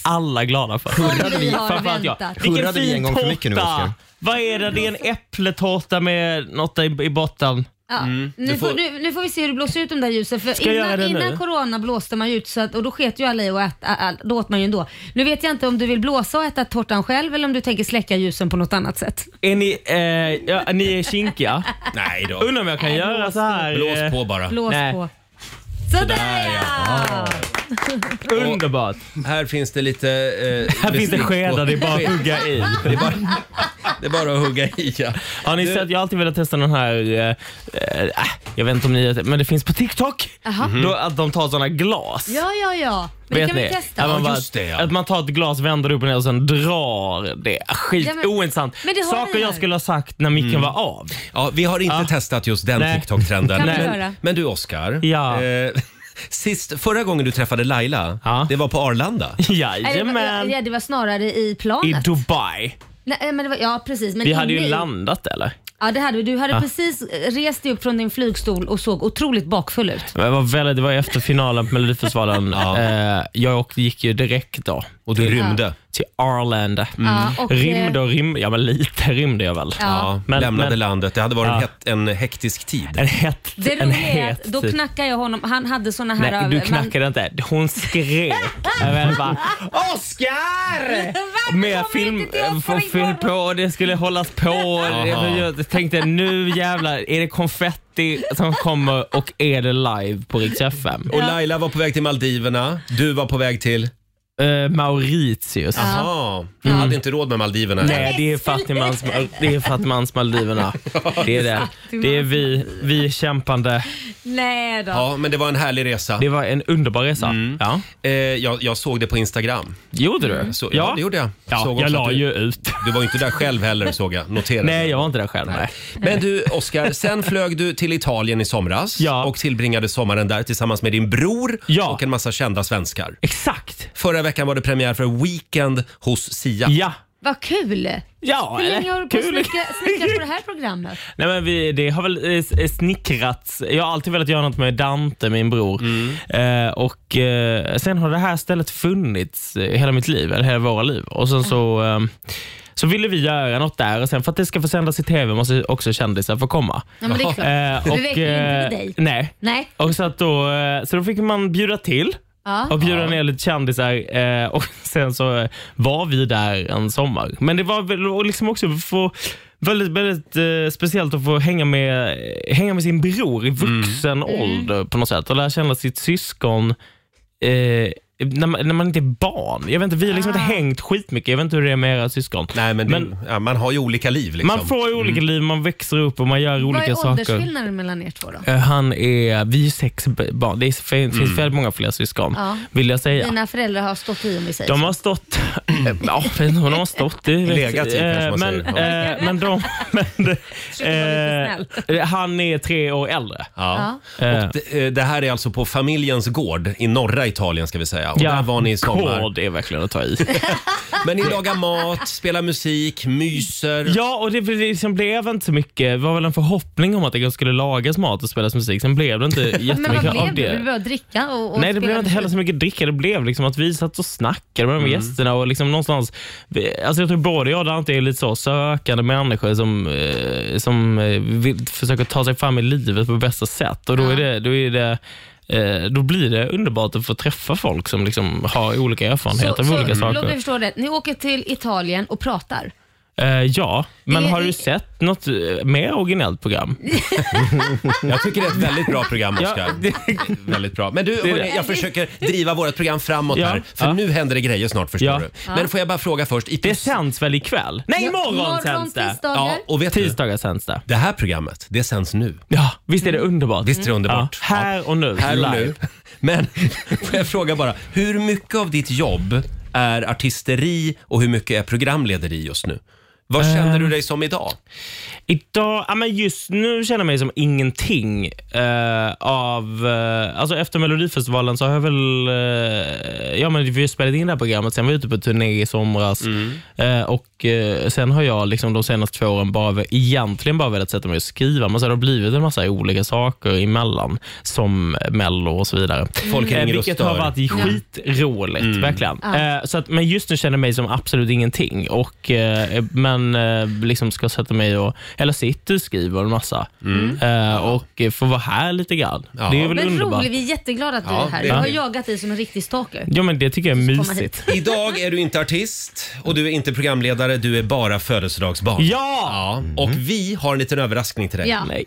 alla glada för. Hurrade vi- har Framförallt jag. väntat. Vilken Hurrade vi fin en gång för mycket nu, tårta. Oskar? Vad är det? Det är en äppletårta med något i, i botten. Ja. Nu, Du Mm. får, får- nu, nu får vi se hur det blåser ut de där ljusen. För Ska jag göra innan, det nu? innan corona blåste man ju ut så att, och då sket ju alla i att äta, all, då åt man ju ändå. Nu vet jag inte om du vill blåsa och äta tårtan själv eller om du tänker släcka ljusen på något annat sätt. Är ni, eh, ja, ni är kinkiga? Nej då. Undrar om jag kan göra så här. eh, Blås på bara. Blås Nej. på. Sådär ja. eh, Underbart. Här finns det lite... Eh, Här finns det bestick på- skedar, det är [LAUGHS] bara att hugga i. Det är bara, det är bara att hugga i ja. Har ni Du- sett, jag har alltid velat testa den här, eh, eh, jag vet inte om ni men det finns på TikTok. Jaha. Då, att de tar såna glas. Ja, ja, ja. Men det Vet kan ni? vi testa. Att man, Ja, bara, just det, ja. att man tar ett glas, vänder upp och ner och sen drar det. Skit Ja, men- ointressant. men det har Saker vi jag här. skulle ha sagt när Mm. micken var av. Ja, vi har inte testat just den Nej. TikTok-trenden. Kan vi Men, göra? men du Oscar. Ja. Eh, [LAUGHS] sist, förra gången du träffade Laila, Ja. det var på Arlanda. [LAUGHS] Nej, det, var, Jajamän. ja, det var snarare i planet. I Dubai. Nej, men det var, ja, precis. Men Vi hade ju inne i- landat eller? Ja, det hade du. Du hade precis eh, rest dig upp från din flygstol och såg otroligt bakfull ut. Men Det var, väldigt, det var ju efter finalen [LAUGHS] på Melodifestivalen. eh, jag åkte- gick ju direkt då. Och du rymde. till Arlanda. Mm. Ja, och, eh, Rymde och rymde, ja men lite rymde jag väl. Ja, Men- lämnade men- landet. Det hade varit en Ja. het- en hektisk tid. En het, Det en roliga är att het då tid. knackade jag honom. Han hade såna här... Nej, du man- knackade inte. Hon skrek. [LAUGHS] Jag vet bara, Oscar! Varför Mer kommer film, eh, inte till oss få på fyll imorgon? på och det skulle hållas på. Jaha. Jag tänkte nu jävlar, är det konfetti som kommer och är det live på Rix FM? Och Laila var på väg till Maldiverna. Du var på väg till... Eh, Mauritius. Jaha, du hade inte råd med Maldiverna. Mm. Nej, det är fattigmans, det är fattigmans Maldiverna. Det är det. Det är vi, vi kämpande. Nej då. Ja, men det var en härlig resa. Det var en underbar resa. Ja. Eh, jag, jag såg det på Instagram. Gjorde du? Så, ja. det gjorde jag. Ja, såg jag också la att du, ju ut. Du var ju inte där själv heller såg jag. Notera. Nej, jag var inte där själv. Nej. Men du Oscar, sen flög du till Italien i somras Ja. och tillbringade sommaren där tillsammans med din bror Ja. och en massa kända svenskar. Exakt. Förra veckan var det premiär för Weekend hos Sia. Ja. Vad kul! Ja, Hur eller? länge har du på att Kul. snicka- snickrat på det här programmet? Nej, men vi, det har väl eh, s- snickrats. Jag har alltid velat göra något med Dante, min bror. Mm. Eh, och eh, Sen har det här stället funnits eh, hela mitt liv, eller hela våra liv. Och sen så, Mm. eh, så ville vi göra något där och sen för att det ska få sändas i TV måste också kändisar få komma. Ja, men det är klart. Eh, Vi räcker ju inte med dig. Nej. Nej. Och så, att då, eh, så då fick man bjuda till Ja. och bjuda ner lite kändisar eh, och [LAUGHS] sen så eh, var vi där en sommar. Men det var väl och liksom också få väldigt, väldigt eh, speciellt att få hänga med, hänga med sin bror i Mm. vuxen Mm. ålder på något sätt och lära känna sitt syskon eh, när, man, när man inte är barn. Jag vet inte, vi har liksom Ah. inte hängt skitmycket. Jag vet inte hur det är med era syskon. Nej, men, Men- det, ja, man har ju olika liv liksom. Man får ju olika liv, man växer upp och man gör Vad olika är saker. åldersskillnaden mellan er två då? Eh, Han är, vi är sex b- barn. Det är- finns Mm. väldigt många fler syskon, Ja. vill jag säga. Dina föräldrar har stått i om vi säger De så. [CLEARS THROAT] har stått... [CLEARS THROAT] ja, jag vet inte om de har stått. Det vet- Legat i, kanske man men, säger. eh, men de... [LAUGHS] Men, vara lite eh, han är tre år äldre. Eh, Ja. Ja. Och det, eh, det här är alltså på familjens gård i norra Italien ska vi säga. säga. Och där var ni i sommar. kod är verkligen att ta [LAUGHS] i. Men ni lagar mat, spelar musik, myser. Ja, och det liksom blev inte så mycket. Det var väl en förhoppning om att det skulle lagas mat och spelas musik. Sen blev det inte [LAUGHS] Men vad jättemycket blev av det? det. Du började dricka och, och Nej, det blev spela inte heller så mycket dricka. Det blev liksom att vi satt och snackade Mm. med de gästerna och liksom någonstans... vi- Alltså jag tror både jag och Dante är lite så sökande människor som, eh, som eh, vill, försöker ta sig fram i livet på bästa sätt. Och då, är det, då, är det, eh, då blir det underbart att få träffa folk som liksom har olika erfarenheter av olika Låt mig saker. förstå det. Ni åker till Italien och pratar. Eh, ja, men Det- har det- du sett något eh, mer originellt program? Jag tycker det är ett väldigt bra program, Oskar. Väldigt bra. Men du, Det är hörni, det. jag försöker driva vårt program framåt Ja. här. För Ja. nu händer det grejer snart, förstår Ja. du. Ja. Men får jag bara fråga först. I det sänds väl ikväll? Nej, Ja, imorgon imorgon sänds det. tisdagar. Ja, och vet tisdagar du? sänds det. Det här programmet, det sänds nu. Ja, visst är Mm. det underbart? Visst är det underbart? Ja, här och nu. Här och live. nu. Men [LAUGHS] får jag fråga bara, hur mycket av ditt jobb är artisteri och hur mycket är programlederi just nu? Vad Eh. känner du dig som idag? Idag, ja, men just nu känner jag mig som ingenting eh, av... eh, alltså efter Melodifestivalen så har jag väl... eh, ja, men vi har ju spelat in det här programmet, sen var jag ute på turné i somras. Mm. Eh, och eh, Sen har jag liksom de senaste två åren bara, ve- egentligen bara velat sätta mig och skriva, men så har det blivit en massa olika saker emellan, som Mello och så vidare. Eh, Folk ringer och vilket stör. har varit Ja. skitroligt, Mm. verkligen. Ja. Eh, så att, men just nu känner jag mig som absolut ingenting. Och, eh, men eh, liksom ska sätta mig och, eller sitter och skriver en massa. Mm. Eh, och eh, får vara här lite grann. Det är väl Men underbart. roligt, vi är jätteglada att du Ja, är här. det är Jag har vi. jagat dig som en riktig stalker. Ja, men det tycker jag är komma mysigt. Idag är du inte artist och du är inte programledare, du är bara födelsedagsbarn. Ja! ja. Och vi har en liten överraskning till dig. Ja. Nej.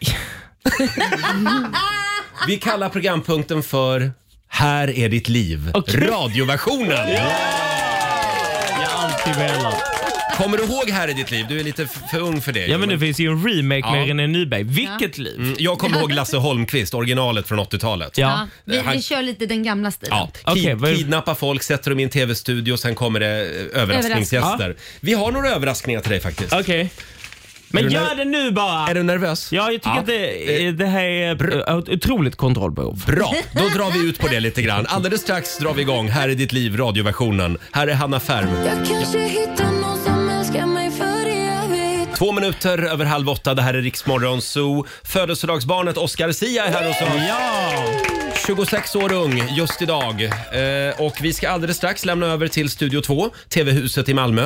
Vi kallar programpunkten för Här är ditt liv, radioversionen. Jag har alltid velat. Kommer du ihåg Här är ditt liv? Du är lite f- för ung för det. Ja, men det Johan. finns ju en remake Ja. med René Nyberg. Vilket liv! Mm, Jag kommer ihåg Lasse Holmqvist, originalet från 80-talet. Ja. Vi, Han- vi kör lite den gamla stilen. Ja, ki- kidnappa folk, sätter dem i en tv-studio, sen kommer det eh, överraskningsgäster. Vi har några överraskningar till dig faktiskt. Okej. Men Är du gör ner- det nu bara! Är du nervös? Ja, jag tycker Ja. Eh, att det, det här är ett otroligt kontrollbehov. Bra, då drar vi ut på det lite grann. Alldeles strax drar vi igång Här är ditt liv, radioversionen. Här är Hanna Färm. Jag kanske hittar någon som älskar mig för evigt. Två minuter över halv åtta, det här är Riksmorgon Zoo. Födelsedagsbarnet Oscar Sia är här hos oss. Ja! 26 år ung just idag. Eh, och vi ska alldeles strax lämna över till Studio 2, TV-huset i Malmö.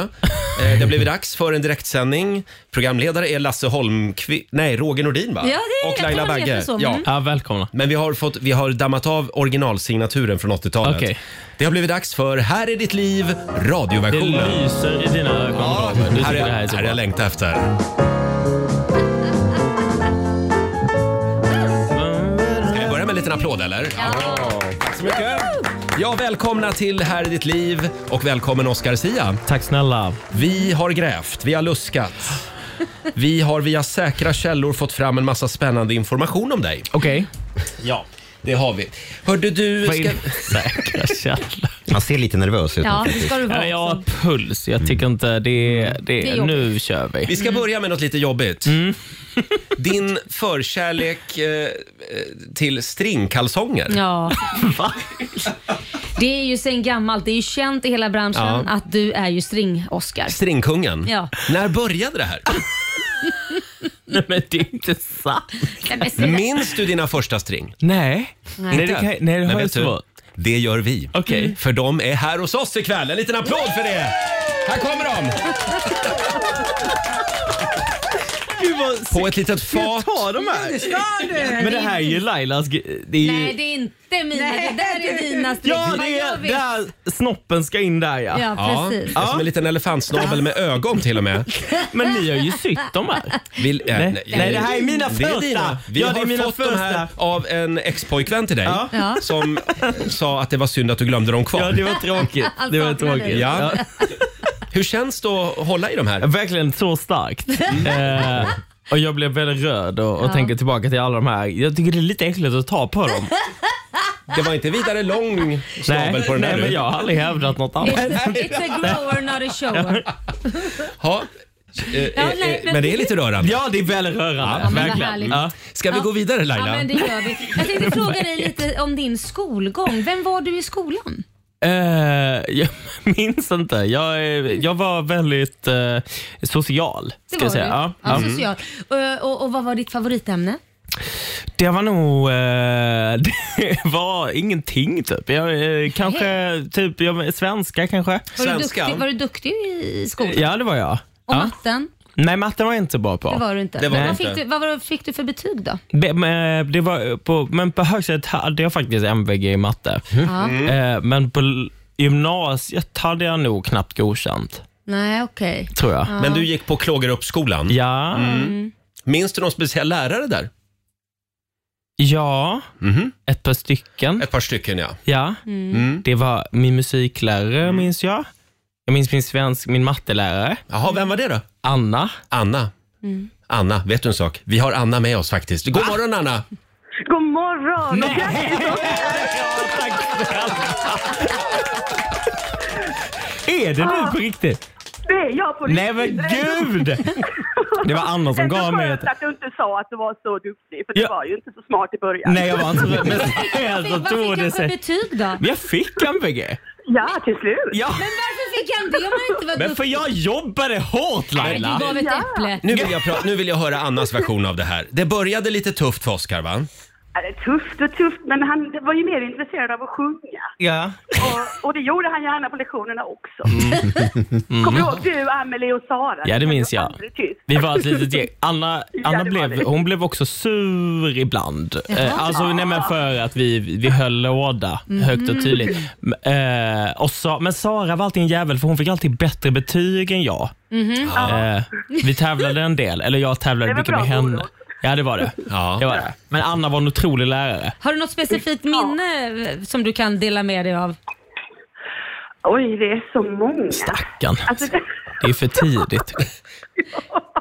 Eh, det [LAUGHS] blir dags för en direktsändning. Programledare är Lasse Holmqvist, nej Roger Nordin va? Ja, det är- jag och tror Laila han heter Bagge. så, Ja. mm. Ja, välkomna. Men vi har, fått, vi har dammat av originalsignaturen från 80-talet. Okej. Det har blivit dags för Här är ditt liv, Det radioversionen. lyser i dina ögon. Robert. Du Här tycker det här är, är så här är bra. jag längtar efter. Ska vi börja med en liten applåd eller? Ja. Tack så mycket. Ja, välkomna till Här är ditt liv och välkommen Oscar Sia. Tack snälla. Vi har grävt, vi har luskat. Vi har via säkra källor fått fram en massa spännande information om dig. Okej. Ja, det har vi. Hörde du... Vad är Ska... det [LAUGHS] säkra källor? Man ser lite nervös ut. Ja, det ska du Ja, vara. jag har också. puls. Jag tycker inte det är... Mm. Det Det är är jobbigt. nu kör Vi vi. ska börja med något lite jobbigt. Mm. [LAUGHS] Din förkärlek eh, till stringkalsonger. Ja. Det är ju sen gammalt. Det är ju känt i hela branschen Ja. att du är ju string-Oscar. Stringkungen. Ja. När började [LAUGHS] det här? [LAUGHS] Nej, men det är inte sant. Minns du dina första string? Nej. Nej. Nej, det, kan, nej, det har jag vet du, svårt. Det gör vi. Mm. Okej. För de är här hos oss ikväll. En liten applåd för det! Här kommer de! Gud vad... På ett litet fat. Ta de här. Men det här är ju Lailas... ge- Det är ju... Nej, det är inte mina. det där är dina string. Ja, det jag är vet. där snoppen ska in där ja. Ja, Ja, det precis. är som en liten elefantsnabel med ögon till och [LAUGHS] med. Men ni har ju sytt de här. Vill, eh, Nej. Nej, det här är mina Det är första. dina. Vi Ja, har det är mina fått de första. här av en ex-pojkvän till dig Ja. Ja. som sa att det var synd att du glömde dem kvar. Ja, det var [LAUGHS] tråkigt. Det var saknar dig. tråkigt. Ja. Hur känns det att hålla i de här? Verkligen så starkt. Eh, och Jag blev väldigt röd och, och tänker tillbaka till alla de här. Jag tycker det är lite äckligt att ta på dem. Det var inte vidare lång snabel Nej, på den nej där men nu. jag har aldrig hävdat [LAUGHS] något annat. It's a grower not a shower. Ha. Eh, eh, eh, nej, men- men det är lite rörande. Ja, det är väldigt rörande. Ja, men vad verkligen. härligt. Ja. Ska vi gå vidare Ja, Laila? [LAUGHS] men det gör vi. Jag tänkte fråga dig lite om din skolgång. Vem var du i skolan? Eh, jag [LAUGHS] minns inte. Jag, eh, jag var väldigt eh, social. Det Ska jag var säga. du. Ja, Mm. Ja, ja. social. Eh, Och, och vad var ditt favoritämne? Det var nog... Eh, [LAUGHS] det var ingenting, typ. Jag, eh, kanske typ, jag, svenska, kanske. Var du, duktig, var du duktig i skolan? Ja, det var jag. Och ja. matten? Nej, matten var jag inte bra på. Det var du inte. Nej. vad, fick du, vad var det, fick du för betyg då? Det, men, eh, det var på, men på högstadiet hade jag faktiskt MVG i matte. Ja. Eh, Men på l- gymnasiet hade jag nog knappt godkänt, Nej, okej. tror jag. Ja. Men du gick på Klågerupsskolan? Ja. Mm. Minns du någon speciell lärare där? Mhm. Ja, ett par stycken. Ett par stycken, ja. Ja, Mm. Mm. det var min musiklärare, minns jag. Jag minns min svensk, min mattelärare. Jaha, vem var det då? Anna. Anna. Mm. Anna, vet du en sak? Vi har Anna med oss faktiskt. God morgon Anna! God morgon! Nej. Är det du på riktigt? Det är jag på Nej men gud! Det var Anna som gav mig ett... Skönt att du inte sa att du var så duktig, för Ja. du var ju inte så smart i början. Nej jag var inte [LAUGHS] men sen så Vad fick tog han det för sig. betyg då? Jag fick MVG. Ja, till slut. Ja. Men varför fick han det om han inte var Men för duktig? jag jobbade hårt Nej, Laila. Du gav ett äpple. Nu vill, jag pra- nu vill jag höra Annas version av det här. Det började lite tufft för Oscar va? Ja, det är tufft och tufft, men han var ju mer intresserad av att sjunga. Ja. Och, och det gjorde han gärna på lektionerna också. Kommer du ihåg du, Amelie och Sara? Ja, det minns jag. aldrig tyst. Vi var ett litet gäng. Anna, Ja, det Anna var blev, det. hon blev också sur ibland. Eh, alltså, nej, men för att vi, vi höll låda Mm. högt och tydligt. M- Eh, och Sa, men Sara var alltid en jävel för hon fick alltid bättre betyg än jag. Mhm. Eh, vi tävlade en del, eller jag tävlade Det var mycket med bra henne. Ja, det var det. det var det. Men Anna var en otrolig lärare. Har du något specifikt minne eh, som du kan dela med dig av? Oj, det är så många. Jan, Alltså, Det är för tidigt.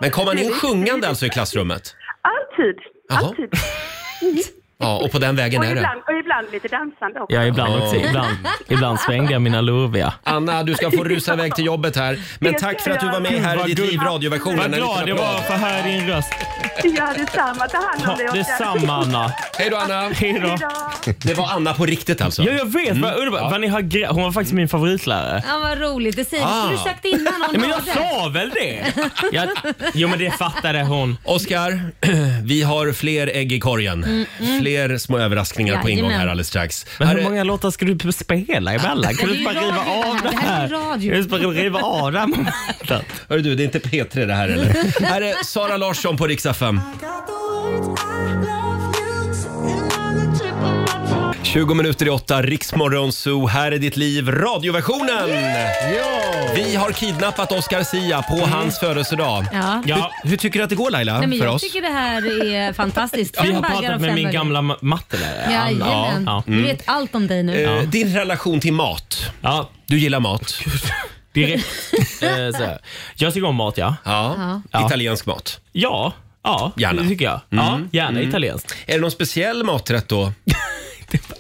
Men kom han in sjungande alltså i klassrummet? alltid. Jaha. Alltid. Ja, och på den vägen Och är det. ibland, och ibland lite dansande också. Ja, ibland, också, Ja. ibland, ibland svängde jag mina lurviga. Anna, du ska få rusa iväg till jobbet här. Men tack för att du var med här i ditt liv, radioversionen. Vad En liten glad jag var applåd. för att höra din röst. Ja, detsamma. Ta hand om dig. Oskar. Hej då Anna. Hej då. Det var Anna på riktigt alltså. Mm. Ja, jag vet. Vad underbart. Vad ni har gre- Hon var faktiskt min favoritlärare. Ja, vad roligt. Det säger Ah. skulle du sagt innan. om Nej, men du jag hade. sa väl det? Jag, jo, men det fattade hon. Oskar, [CLEARS THROAT] vi har fler ägg i korgen. Mm, mm. Fler små överraskningar på ingång Jajamän. här alldeles strax. Men Här hur är- många låtar ska du spela emellan? Kan du inte bara riva av det här? Jag vill bara riva av det här momentet. Hörru du, det är inte P3 det här [LAUGHS] eller? här är Sara Larsson på riksdag 5. 20 minuter i åtta, Riksmorgon Zoo. Här är ditt liv, radioversionen! Vi har kidnappat Oscar Sia på hans födelsedag. Mm. Ja. Ja. Hur, hur tycker du att det går Laila? Nej, men för jag oss? tycker det här är fantastiskt. Vi Fem har baggar pratat och med fem min baggar. gamla ma- mattelärare. Anna. Jajamän. Du Mm. vet allt om dig nu. Eh, Din relation till mat. Du gillar mat. Direkt. [LAUGHS] eh, så här. Jag tycker om mat, ja. Ja. Italiensk mat. Ja, ja Gärna. Mm. det tycker jag. Ja, gärna italienskt. Är det någon speciell maträtt då?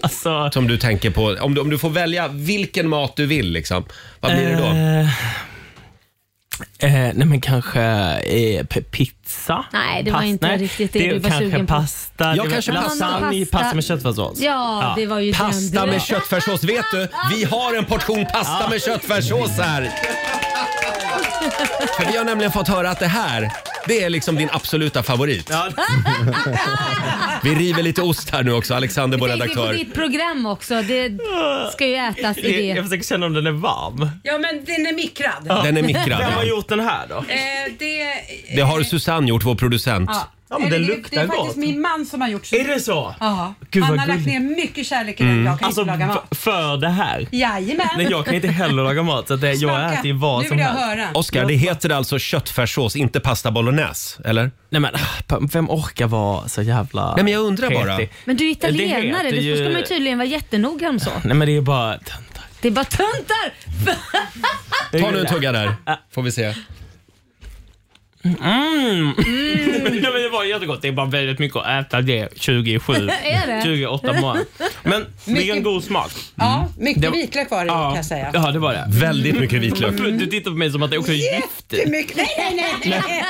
Alltså, Som du tänker på? Om du, om du får välja vilken mat du vill, liksom. vad blir det då? Eh, nej men kanske eh, p- pizza? Nej, det var Pas- inte nej, riktigt det du var kanske sugen på. pasta, det Jag var kanske pasta. lasagne, Pasta. pasta. med köttfärssås. Ja, det var ju Pasta den med direkt. köttfärssås. Vet du, vi har en portion pasta med köttfärssås här. För vi har nämligen fått höra att det här, det är liksom din absoluta favorit. Vi river lite ost här nu också, Alexander, vår Tänk på redaktör. ditt program också. Det ska ju ätas i alltså, det. Jag, jag försöker känna om den är varm. Ja, men den är mikrad. Ja. Den är mikrad, Vem ja. har gjort den här då? Eh, det, Det har Susanne gjort, vår producent. Ja. Ja, men Eller den det- luktar Det är faktiskt gott. min man som har gjort så. Är det så? Ja. Gud, han vad har lagt ner gulligt. mycket kärlek i den. Mm. Jag kan Alltså inte laga mat. f- för det här. Jajamän. Nej, jag kan inte heller laga mat. Så att det, jag Smaka. äter ju vad Nu som vill jag helst. höra. Oskar, det heter alltså köttfärssås, inte pasta bolognese, eller? Nej men, vem orkar vara så jävla Nej, men jag undrar bara. petig? Men du är Det italienare, heter det ju- ska man ju tydligen vara jättenoga om så. Nej men det är bara... Det är bara töntar! Ta nu en tugga där, får vi se. Mm. [LAUGHS] ja, men det var jättegott. Det är bara väldigt mycket att äta det 2007. [LAUGHS] Är det? 28 månader. Men det är en Mycket- god smak. Ja, mycket Det- vitlök var Mm. det kan jag säga. Ja, det var det. Väldigt mycket vitlök. Du tittar på mig som att det också är giftigt. Mycket. Nej, nej, nej.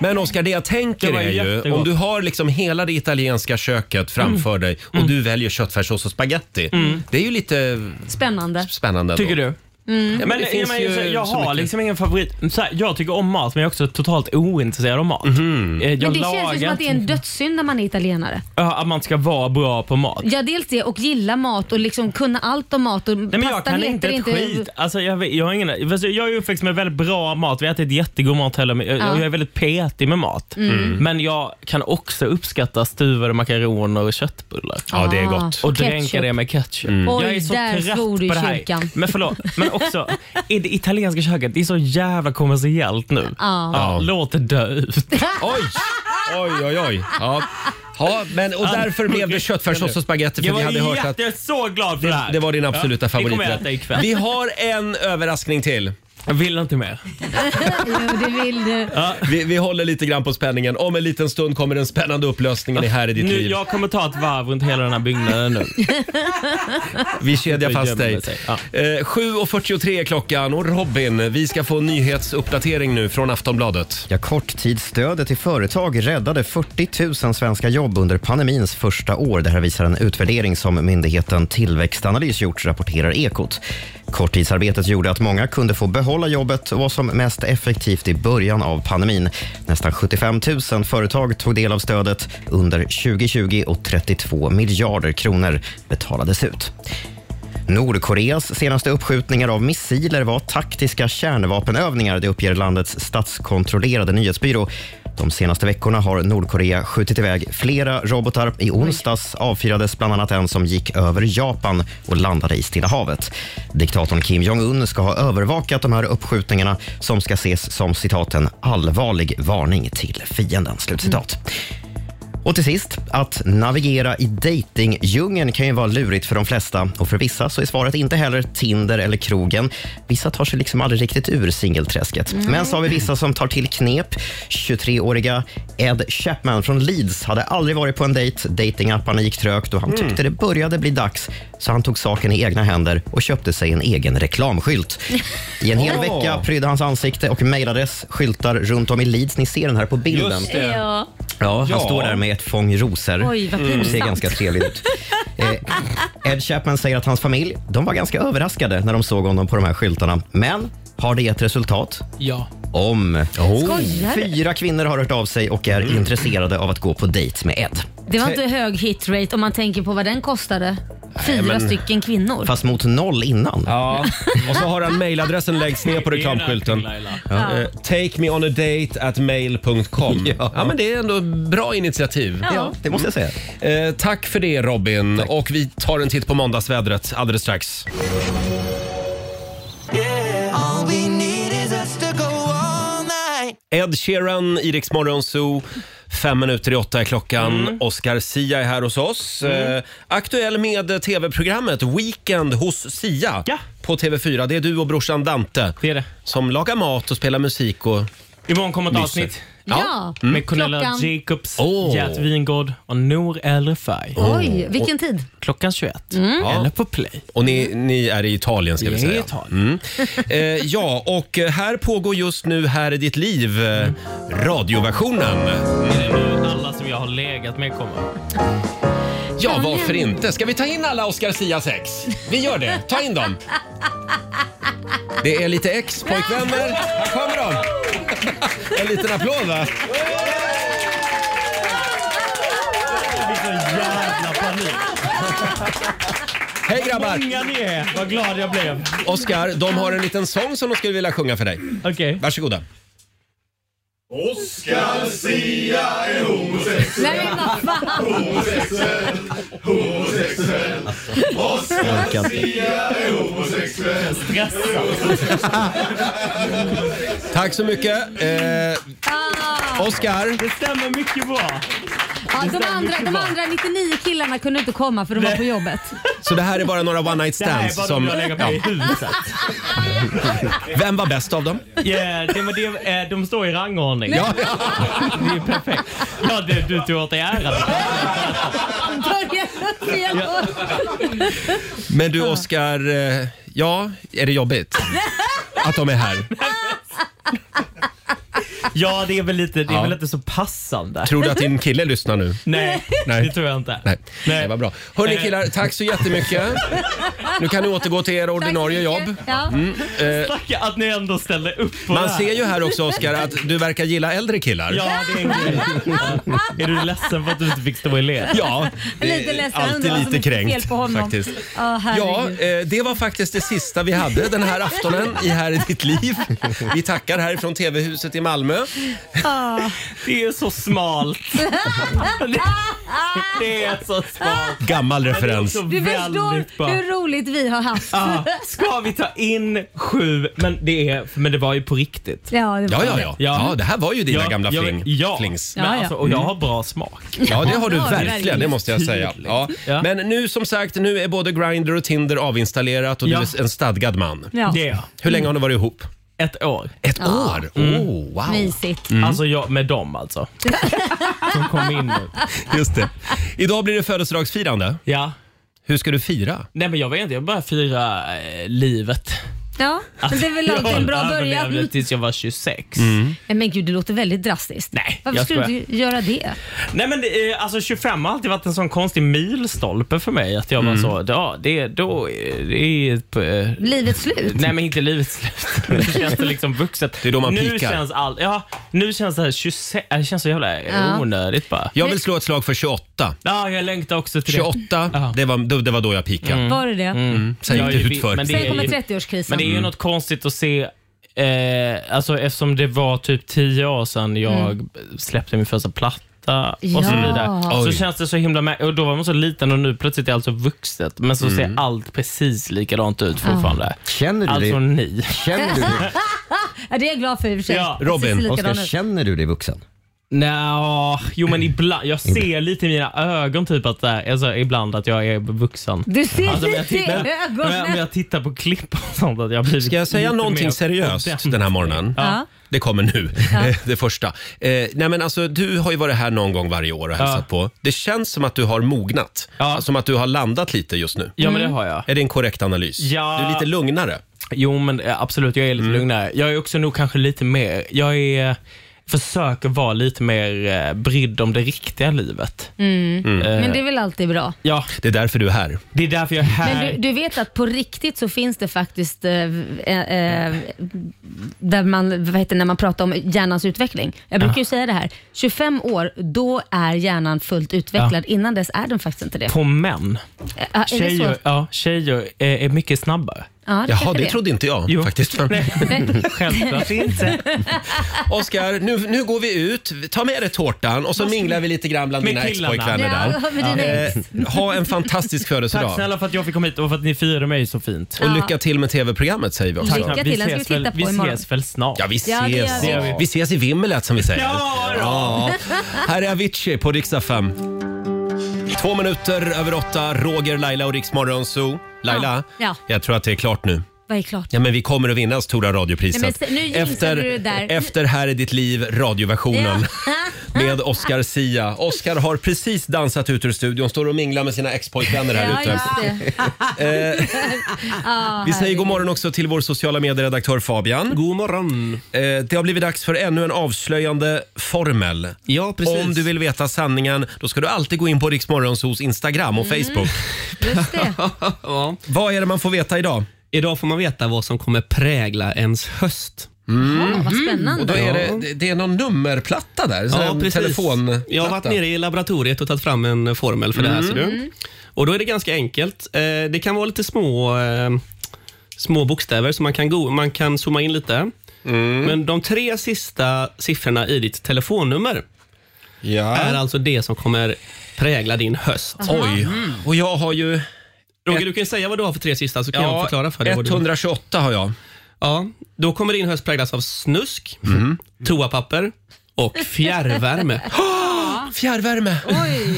Men Oskar, det jag tänker Det var är ju jättegott. om du har liksom hela det italienska köket framför dig och du väljer köttfärssås och spaghetti. Mm. Det är ju lite Spännande. spännande. ändå. Tycker du? Mm. Ja, men men det jag- finns men, ju jag- jag så har mycket. liksom ingen favorit. Så här, jag tycker om mat, men jag är också totalt ointresserad av mat. Mhm. Eh, Jag Men det lagar känns ju som att det är en dödssynd när man är italienare. Ja, att man ska vara bra på mat. Ja, dels det och gilla mat och liksom kunna allt om mat. Och Nej, men jag kan inte ett skit. Alltså, jag, vet- jag, har ingen, fast jag är ju uppväxt med väldigt bra mat. Vi har ätit jättegod mat hela mi- jag, Ja. jag är väldigt petig med mat. Mm. Men jag kan också uppskatta stuvade makaroner och köttbullar. Ja, det är gott. Och Ketchup. dränka det med ketchup. Mm. Oj, jag är så där trött svor du i på det här. kyrkan. Men förlåt, men [LAUGHS] också i det italienska köket, det är så jävla kommersiellt nu. Ja. låt det dö [LAUGHS] ut. Oj! Oj, oj, oj. Ja. Ja, men, och därför blev det köttfärssås och spagetti för Jag vi var hade hört att jätte- jag är så glad för det här. det var din absoluta Ja, Det kommer jag favoriträtt. äta ikväll. Vi har en överraskning till. Jag vill inte mer. jo, det vill du. Vi, vi håller lite grann på spänningen. Om en liten stund kommer den spännande upplösningen i Här i ditt nu, liv. jag kommer ta ett varv runt hela den här byggnaden nu. Vi kedjar Jag fast gömmer dig. sig. Eh, 7.43 är klockan och Robin, vi ska få en nyhetsuppdatering nu från Aftonbladet. Ja, korttidsstödet till företag räddade 40 000 svenska jobb under pandemins första år. Det här visar en utvärdering som myndigheten Tillväxtanalys gjort, rapporterar Ekot. Korttidsarbetet gjorde att många kunde få behålla jobbet och var som mest effektivt i början av pandemin. Nästan 75 000 företag tog del av stödet under 2020 och 32 miljarder kronor betalades ut. Nordkoreas senaste uppskjutningar av missiler var taktiska kärnvapenövningar. Det uppger landets statskontrollerade nyhetsbyrå. De senaste veckorna har Nordkorea skjutit iväg flera robotar. I onsdags avfyrades bland annat en som gick över Japan och landade i Stilla havet. Diktatorn Kim Jong-Un ska ha övervakat de här uppskjutningarna som ska ses som citat, en allvarlig varning till fienden. Slutcitat. Och till sist, att navigera i dejtingdjungeln kan ju vara lurigt för de flesta. Och för vissa så är svaret inte heller Tinder eller krogen. Vissa tar sig liksom aldrig riktigt ur singelträsket. Nej. Men så har vi vissa som tar till knep. 23-åriga Ed Chapman från Leeds hade aldrig varit på en dejt. Datingapparna gick trögt och han Mm. tyckte det började bli dags. Så han tog saken i egna händer och köpte sig en egen reklamskylt. I en hel [LAUGHS] Åh. vecka prydde hans ansikte och mejlades skyltar runt om i Leeds. Ni ser den här på bilden. Just det. Ja. Ja, han Ja. står där med ett fång rosor Oj, vad och ser pinsamt. ganska trevlig ut. Eh, Ed Chapman säger att hans familj de var ganska överraskade när de såg honom på de här skyltarna. Men har det gett resultat? Ja. Om. Skojar du? Fyra kvinnor har hört av sig och är intresserade av att gå på dejt med Ed. Det var inte hög hitrate om man tänker på vad den kostade. Fyra men- stycken kvinnor. Fast mot noll innan. Ja, och så har han mejladressen längst ner på reklamskylten. Ja. Eh, Take me on a date at mail.com. Ja. men det är ändå bra initiativ. Ja, det måste jag säga. Eh, tack för det Robin. Och vi tar en titt på måndagsvädret alldeles strax. All we need is us to go all night. Ed Sheeran, Iriks Zoo. Fem minuter i åtta är klockan. Oscar Sia är här hos oss. Eh, aktuell med eh, tv-programmet Weekend hos Sia på TV4. Det är du och brorsan Dante som lagar mat och spelar musik. Och Imorgon kommer ett myser. avsnitt. Ja. Med Cornelia Klockan- Jacobs, Mm. Åh. Gert Wingård och Nour El Refai. Oj, vilken tid? Klockan 21. Mm. Eller på play. Och ni, ni är i Italien ska vi Vi är i säga. Mm. Eh, ja, och eh, här pågår just nu Här i ditt liv, eh, radioversionen. Det är nu alla som jag har legat med kommer. Ja, varför inte? Ska vi ta in alla Oscar Sia 6? Vi gör det. Ta in dem. Det är lite ex-pojkvänner. Här kommer de. [LAUGHS] En liten applåd va? Vilken jävla panik. Hej grabbar! Många ni är. Vad glad jag blev. Oscar, de har en liten sång som de skulle vilja sjunga för dig. Okej. Varsågoda. Oscar Sia är homosexuell. Nej, men vad fan. Homosexuell, homosexuell. Oscar Sia är homosexuell. Tack så mycket. Eh, Oscar. Ah, Det stämmer mycket bra. Ja, de, andra, de andra 99 killarna kunde inte komma för de var på jobbet. Så det här är bara några one night Det här är stands bara som... de jag lägger på i huset. Vem var bäst av dem? Yeah, det, men det, eh, de står i rangordning. Ja. Det är perfekt. Ja, det, du tog åt dig äran. Börja fel Ja. Men du Oskar, eh, ja, är det jobbigt att de är här? Ja, det är väl lite, det är Ja. väl inte så passande. Tror du att din kille lyssnar nu? Nej, Nej. det tror jag inte. Nej, Nej. det var bra. Hörni Eh. killar, tack så jättemycket. Nu kan ni återgå till era ordinarie jobb. Ja. Mm, eh, Tacka att ni ändå ställer upp på det man här. ser ju här också Oskar att du verkar gilla äldre killar. Ja, det är en grej. Ja. [LAUGHS] Är du ledsen för att du inte fick stå i led? Ja, det är Lite ledsen. alltid undrar vad som lite är fel kränkt, på honom. faktiskt. Ja, Ja, herregud. eh, det var faktiskt det sista vi hade den här aftonen i Här i ditt liv. Vi tackar härifrån TV-huset i Malmö. Ah. Det är så smalt. [LAUGHS] Det, det är så smalt. Gammal referens. Du förstår hur roligt vi har haft. Ah. Ja, ska vi ta in sju? Men det, är, men det var ju på riktigt. [LAUGHS] Ja, det var Ja, ja, ja. Ja, det här var ju dina Ja, gamla ja, fling, ja. flings. Men Ja, ja. alltså, och jag har bra smak. Ja, det har du Ja, det är verkligen. Det måste jag säga. Ja. Men nu som sagt, nu är både Grindr och Tinder avinstallerat och Ja. du är en stadgad man. Ja. Det är jag. Hur länge har ni varit ihop? Ett år. Ett Ja. år? Mm. Oh, wow. Mysigt. Alltså jag, med dem alltså. [LAUGHS] Som kom in nu. Just det. Idag blir det födelsedagsfirande. Ja. Hur ska du fira? Nej men jag vet inte, jag bara fira eh, livet. Ja, men det är väl alltid en bra Jag överlevde början. tills jag var 26. Mm. Eh, Men gud, det låter väldigt drastiskt. Nej, Varför jag skulle du skojar. inte göra det? Nej men det, eh, alltså 25 har alltid varit en sån konstig milstolpe för mig. Att jag Mm. var så, ja det, då, eh, det är ett, eh, Livet slut? Nej men inte livet slut. [LAUGHS] Nu känns det liksom vuxet. Det är då man nu pikar. Känns all, ja, nu känns det här 26, äh, det känns så jävla Ja. onödigt bara. Jag vill slå ett slag för 28. Ja, jag längtar också till det. 28, Ja. det var, det, det var då jag pikade. Var det det? Mm. Säg Jag inte är ju- utför. men det- Sen kommer är ju- Men det är Mm. 30-årskrisen. ju något konstigt att se Eh, alltså eftersom det var typ 10 år sedan jag släppte min första platta och Mm. Ja. så vidare. Så Oj. känns det så himla mä- och Då var man så liten och nu plötsligt är allt så vuxet. Men så Mm. ser allt precis likadant ut fortfarande. Känner du Alltså dig, ni. känner [LAUGHS] du dig, Ja, det är jag glad för i och för sig. Ja, Precis Robin, likadan Oskar, ut. känner du dig vuxen? Nja, jo men ibland. Jag ser lite i mina ögon typ att där, alltså, ibland att jag är vuxen. Du ser Alltså, om jag lite i tittar- om jag- om ögonen. jag tittar på klipp och sånt att jag blir Ska jag säga någonting seriöst den här morgonen? Ja. Det kommer nu, Ja. [LAUGHS] det första. Eh, nej men alltså, du har ju varit här någon gång varje år och hälsat Ja. på. Det känns som att du har mognat. Alltså, Ja. Som att du har landat lite just nu. Ja men Mm. det har jag. Är det en korrekt analys? Ja. Du är lite lugnare. Jo, men eh, absolut. Jag är lite Mm. lugnare. Jag är också nog kanske lite mer... Jag är, försöker vara lite mer eh, brydd om det riktiga livet. Mm. Men det är väl alltid bra. Ja, Det är därför du är här. det är därför jag är här. Men du, du vet att på riktigt så finns det faktiskt eh, eh, där man, vad heter, det, när man pratar om hjärnans utveckling. Jag brukar ju säga det här, 25 år, då är hjärnan fullt utvecklad. Innan dess är den faktiskt inte det. På män. Eh, är det så? Tjejer, ja, tjejer är, är mycket snabbare. Ja, det Jaha, kanske det är. trodde inte jag Jo. [LAUGHS] faktiskt. [LAUGHS] Självklart inte. Oskar, nu, nu går vi ut. Ta med dig tårtan och så minglar vi lite grann bland Med dina killarna. ex-pojkvänner där. Ja, med dina ex. Eh, ha en fantastisk Tack födelsedag. snälla för att jag fick komma hit och för att ni firade mig så fint. Och lycka till med tv-programmet säger vi också. Lycka till, Vi den ska vi ses titta väl- på Vi imorgon. ses väl snart? Ja, vi Ja, det gör ses. vi. vi. ses i Vimmelet som vi säger. Ja, då. Ja. Här är Avicii på riksdag 5. Två minuter över åtta, Roger, Laila och Riksmorgon Zoo. Laila, Ja. Ja. jag tror att det är klart nu. Vad är klart? Ja, men vi kommer att vinna Stora radiopriset. Nej, men se- nu jinxar du det där. efter Här är ditt liv, radioversionen. [LAUGHS] Med Oscar Sia. Oscar har precis dansat ut ur studion, står och minglar med sina ex-pojkvänner här Ja, ute. just det. Vi säger god morgon också till vår sociala medieredaktör Fabian. God morgon. Eh, Det har blivit dags för ännu en avslöjande formel. Ja, precis. Om du vill veta sanningen, då ska du alltid gå in på Riksmorgonsos Instagram och Mm. Facebook. Just det. ja. Vad är det man får veta idag? Idag får man veta vad som kommer prägla ens höst. Ja, vad Mhm. Och då spännande. är det, det är någon nummerplatta där, ja, en telefonplatta. Jag har varit nere i laboratoriet och tagit fram en formel för det här. Ser du. Och Då är det ganska enkelt. Eh, Det kan vara lite små, eh, små bokstäver, så man kan, go- man kan zooma in lite. Men de tre sista siffrorna i ditt telefonnummer är Ja. alltså det som kommer prägla din höst. Oj, Mm. och jag har ju... Roger, du kan ju säga vad du har för tre sista, så kan jag förklara för dig. vad du- 128 har jag. Ja, då kommer din höst präglas av snusk, toapapper och [LAUGHS] fjärrvärme. Fjärrvärme.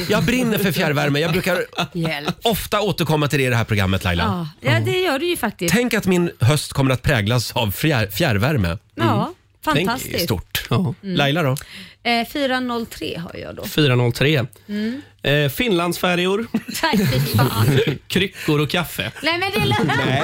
Jag brinner för fjärrvärme. Jag brukar Hjälp. ofta återkomma till det i det här programmet Laila. Ja. ja, det gör du ju faktiskt. Tänk att min höst kommer att präglas av fjär, fjärrvärme. Ja, fantastiskt. Tänk stort. Mm. Laila då? Eh, 403 har jag då. 403. Mm. Eh, Finlandsfärjor, Nej, fy fan. kryckor och kaffe. Nej men det är Nej.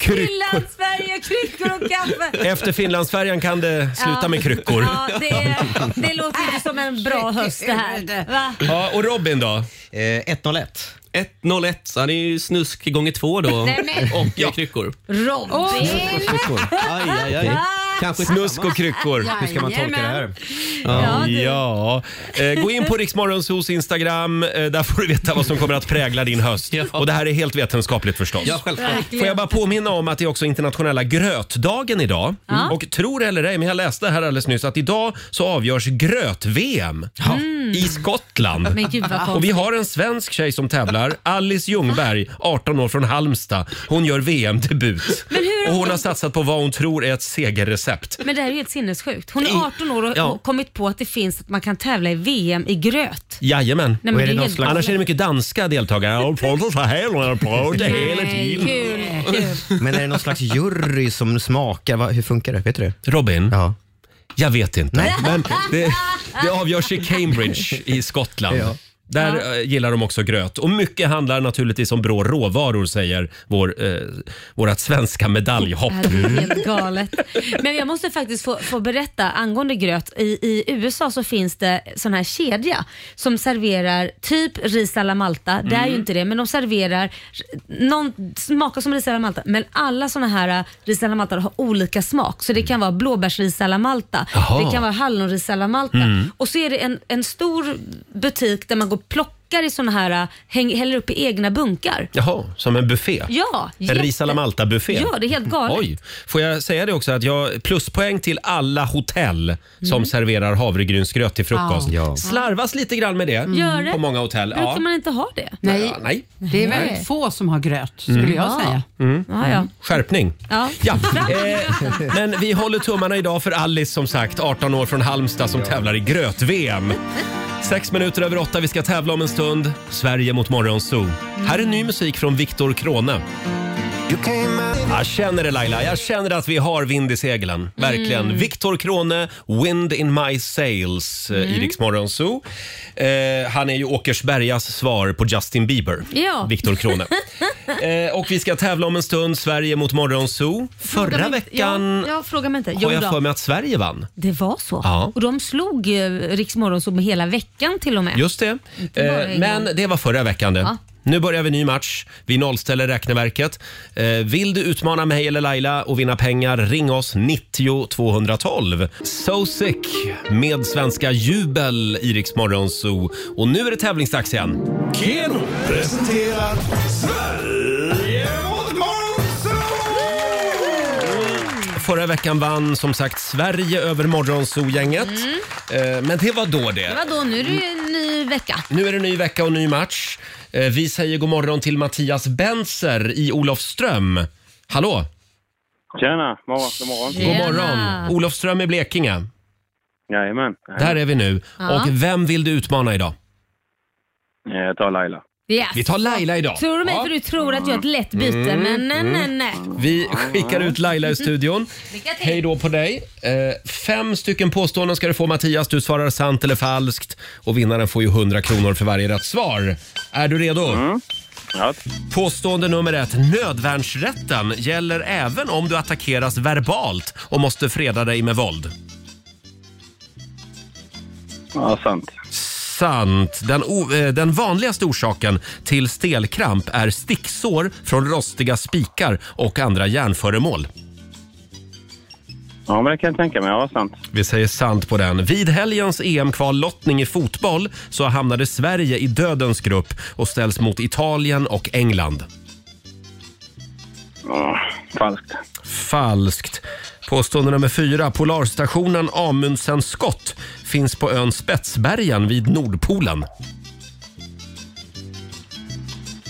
Finland, Sverige, kryckor och kaffe. Efter Finlandsfärjan kan det sluta Ja. med kryckor. Ja, det, det låter inte som en bra höst det här. Va? Ja, och Robin då? Eh, 101. 101, så det är ju snusk gånger två då. Nej, men- Och ja. kryckor. Robin! Aj, aj, aj. Kanske Snusk och kryckor. Hur ska man tolka det här? Ja, Ja, du. Eh, gå in på Riksmorgonsos Instagram. Eh, där får du veta vad som kommer att prägla din höst. Och det här är helt vetenskapligt förstås. Ja, självklart. Får jag bara påminna om att det är också internationella grötdagen idag. Ja. Och tro det eller ej, men jag läste här alldeles nyss att idag så avgörs gröt-VM Mm. i Skottland. Men gud, vad konstigt. och vi har en svensk tjej som tävlar, Alice Ljungberg, 18 år från Halmstad. Hon gör VM-debut. Men hur- Och hon har satsat på vad hon tror är ett segerrecept. Men det här är ju helt sinnessjukt. Hon är 18 år och Ja. har kommit på att det finns att man kan tävla i VM i gröt. Jajamän. men Och är det det är någon helt- slags- Annars är det mycket danska deltagare. Jag pratar så här och jag pratar hela Nej, tiden. kul, kul. Men är det någon slags jury som smakar? Va- Hur funkar det? Vet du det? Robin? Ja. Jag vet inte. Men det, det avgörs i Cambridge i Skottland. Ja. Där eh, gillar de också gröt. Och mycket handlar naturligtvis om brå råvaror säger vår, eh, vårt svenska medaljhopp. Det här är [LAUGHS] helt galet. Men jag måste faktiskt få, få berätta angående gröt. I, I USA så finns det sån här kedja som serverar typ ris alla Malta. Det är ju Mm. inte det, men de serverar någon smakar som ris alla Malta. Men alla såna här eh, ris alla Malta har olika smak. Så det kan vara blåbärsris alla Malta. Jaha. Det kan vara hallonris alla Malta. Mm. Och så är det en, en stor butik där man går och plockar i såna här, eh, häng, häller upp i egna bunkar. Jaha, som en buffé? Ja, En jätte- ris alla Malta-buffé? Ja, det är helt galet. Oj. Får jag säga det också att jag pluspoäng till alla hotell som Mm. serverar havregrynsgröt till frukost. Ja. Ja. Slarvas lite grann med det Gör det? Mm. på många hotell. Brukar man inte ha det? Nej. nej. Det är väldigt få som har gröt, skulle Mm. jag säga. Mm. Ja, ja. Skärpning. Ja. [LAUGHS] Ja, eh, men vi håller tummarna idag för Alice som sagt, 18 år från Halmstad som tävlar i [LAUGHS] gröt-VM. Sex minuter över åtta, vi ska tävla om en stund. Sverige mot Morgonzoo. Här är ny musik från Viktor Krone. Jag känner det Laila, jag känner att vi har vind i seglen. Verkligen. Mm. Viktor Krone, Wind in my sails eh, Mm. i Rix Morgonzoo. Eh, han är ju Åkersbergas svar på Justin Bieber. Ja. Viktor [LAUGHS] Krone. Eh, och vi ska tävla om en stund, Sverige mot Morgonzoo. Fråga mig Förra inte- veckan Ja, ja fråga mig inte. Jo har jag då. för mig att Sverige vann. Det var så. Ja. Och de slog eh, Rix Morgonzoo med hela veckan till och med. Just det. Inte bara Eh, en men gång. det var förra veckan det. Ja. Nu börjar vi ny match. Vi nollställer räkneverket. Eh, vill du utmana mig eller Laila och vinna pengar, ring oss 90 212. So sick med svenska jubel i Rix Morgonzoo. Och nu är det tävlingsdags igen. Keno presenterar Sverige mot Monzo! Förra veckan vann som sagt Sverige över Morgonzoo-gänget. Mm. Eh, men det var då det. Vadå, nu är det ju en ny vecka. Nu är det ny vecka och ny match. Eh, Vi säger god morgon till Mattias Benser i Olofström. Hallå! Tjena, morgon, god morgon. God morgon! Olofström i Blekinge. Jajamän. Där är vi nu. Ja. Och vem vill du utmana idag? Jag tar Laila. Yes. Vi tar Laila idag. Tror du mig för du tror att jag är ett lätt byte, Mm, men nej, mm. nej, nej. Vi skickar ut Laila i studion. Lycka till. Hej då på dig. Eh, Fem stycken påståenden ska du få Mattias. Du svarar sant eller falskt. Och vinnaren får ju 100 kronor för varje rätt svar. Är du redo? Ja. Påstående nummer ett. Nödvärnsrätten gäller även om du attackeras verbalt och måste freda dig med våld. Ja, sant. Sant. Den, o- eh, den vanligaste orsaken till stelkramp är sticksår från rostiga spikar och andra järnföremål. Ja, men det kan jag tänka mig. Ja, sant. Vi säger sant på den. Vid helgens EM-kvallottning i fotboll så hamnade Sverige i dödens grupp och ställs mot Italien och England. falskt. Falskt. Påstående nummer fyra. Polarstationen Amundsen Scott finns på ön Spetsbergen vid Nordpolen.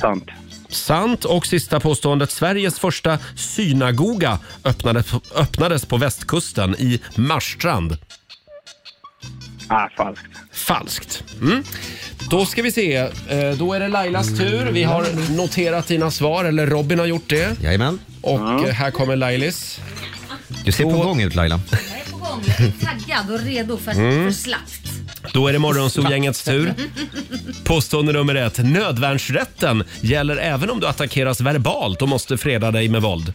Sant. Sant. Och sista påståendet. Sveriges första synagoga öppnades, öppnades på västkusten i Marstrand. Ah, falskt. Falskt. Mm. Då ska vi se. Eh, Då är det Lailas tur. Vi har noterat dina svar, eller Robin har gjort det. Jajamän. Och eh, här kommer Lailis. Du ser på gång ut Laila. På gång, jag är taggad och redo för, Mm. för slakt. Då är det Morgonzoo-gängets tur. Påstående nummer ett. Nödvärnsrätten gäller även om du attackeras verbalt och måste freda dig med våld.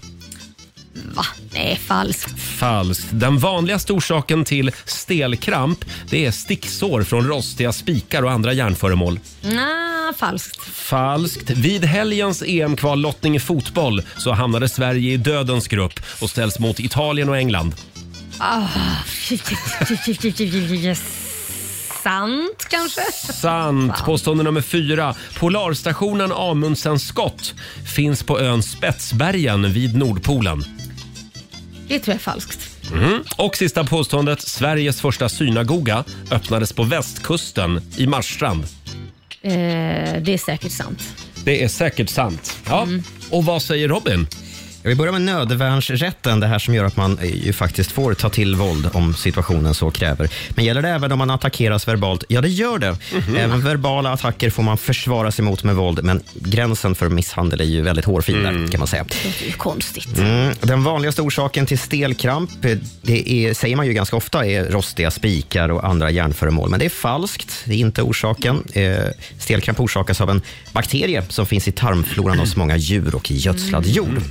Va? Nej, falskt. Falskt. Den vanligaste orsaken till stelkramp det är sticksår från rostiga spikar och andra järnföremål. Nah, falskt. Falskt. Vid helgens EM-kvallottning i fotboll så hamnade Sverige i dödens grupp och ställs mot Italien och England. Ah, Sant kanske? Sant. Påstående nummer fyra. Polarstationen Amundsens skott finns på ön Spetsbergen vid Nordpolen. Det tror jag är falskt. Mhm. Och sista påståendet. Sveriges första synagoga öppnades på västkusten i Marstrand. Eh, det är säkert sant. Det är säkert sant. Ja. Och vad säger Robin? Vi börjar med nödvärnsrätten, det här som gör att man eh, ju faktiskt får ta till våld om situationen så kräver. Men gäller det även om man attackeras verbalt? Ja, det gör det. Även verbala attacker får man försvara sig mot med våld, men gränsen för misshandel är ju väldigt hårfin där, kan man säga. Det är ju konstigt. Mm, den vanligaste orsaken till stelkramp, eh, det är, säger man ju ganska ofta, är rostiga spikar och andra järnföremål. Men det är falskt, det är inte orsaken. Eh, stelkramp orsakas av en bakterie som finns i tarmfloran hos många djur och i gödslad jord.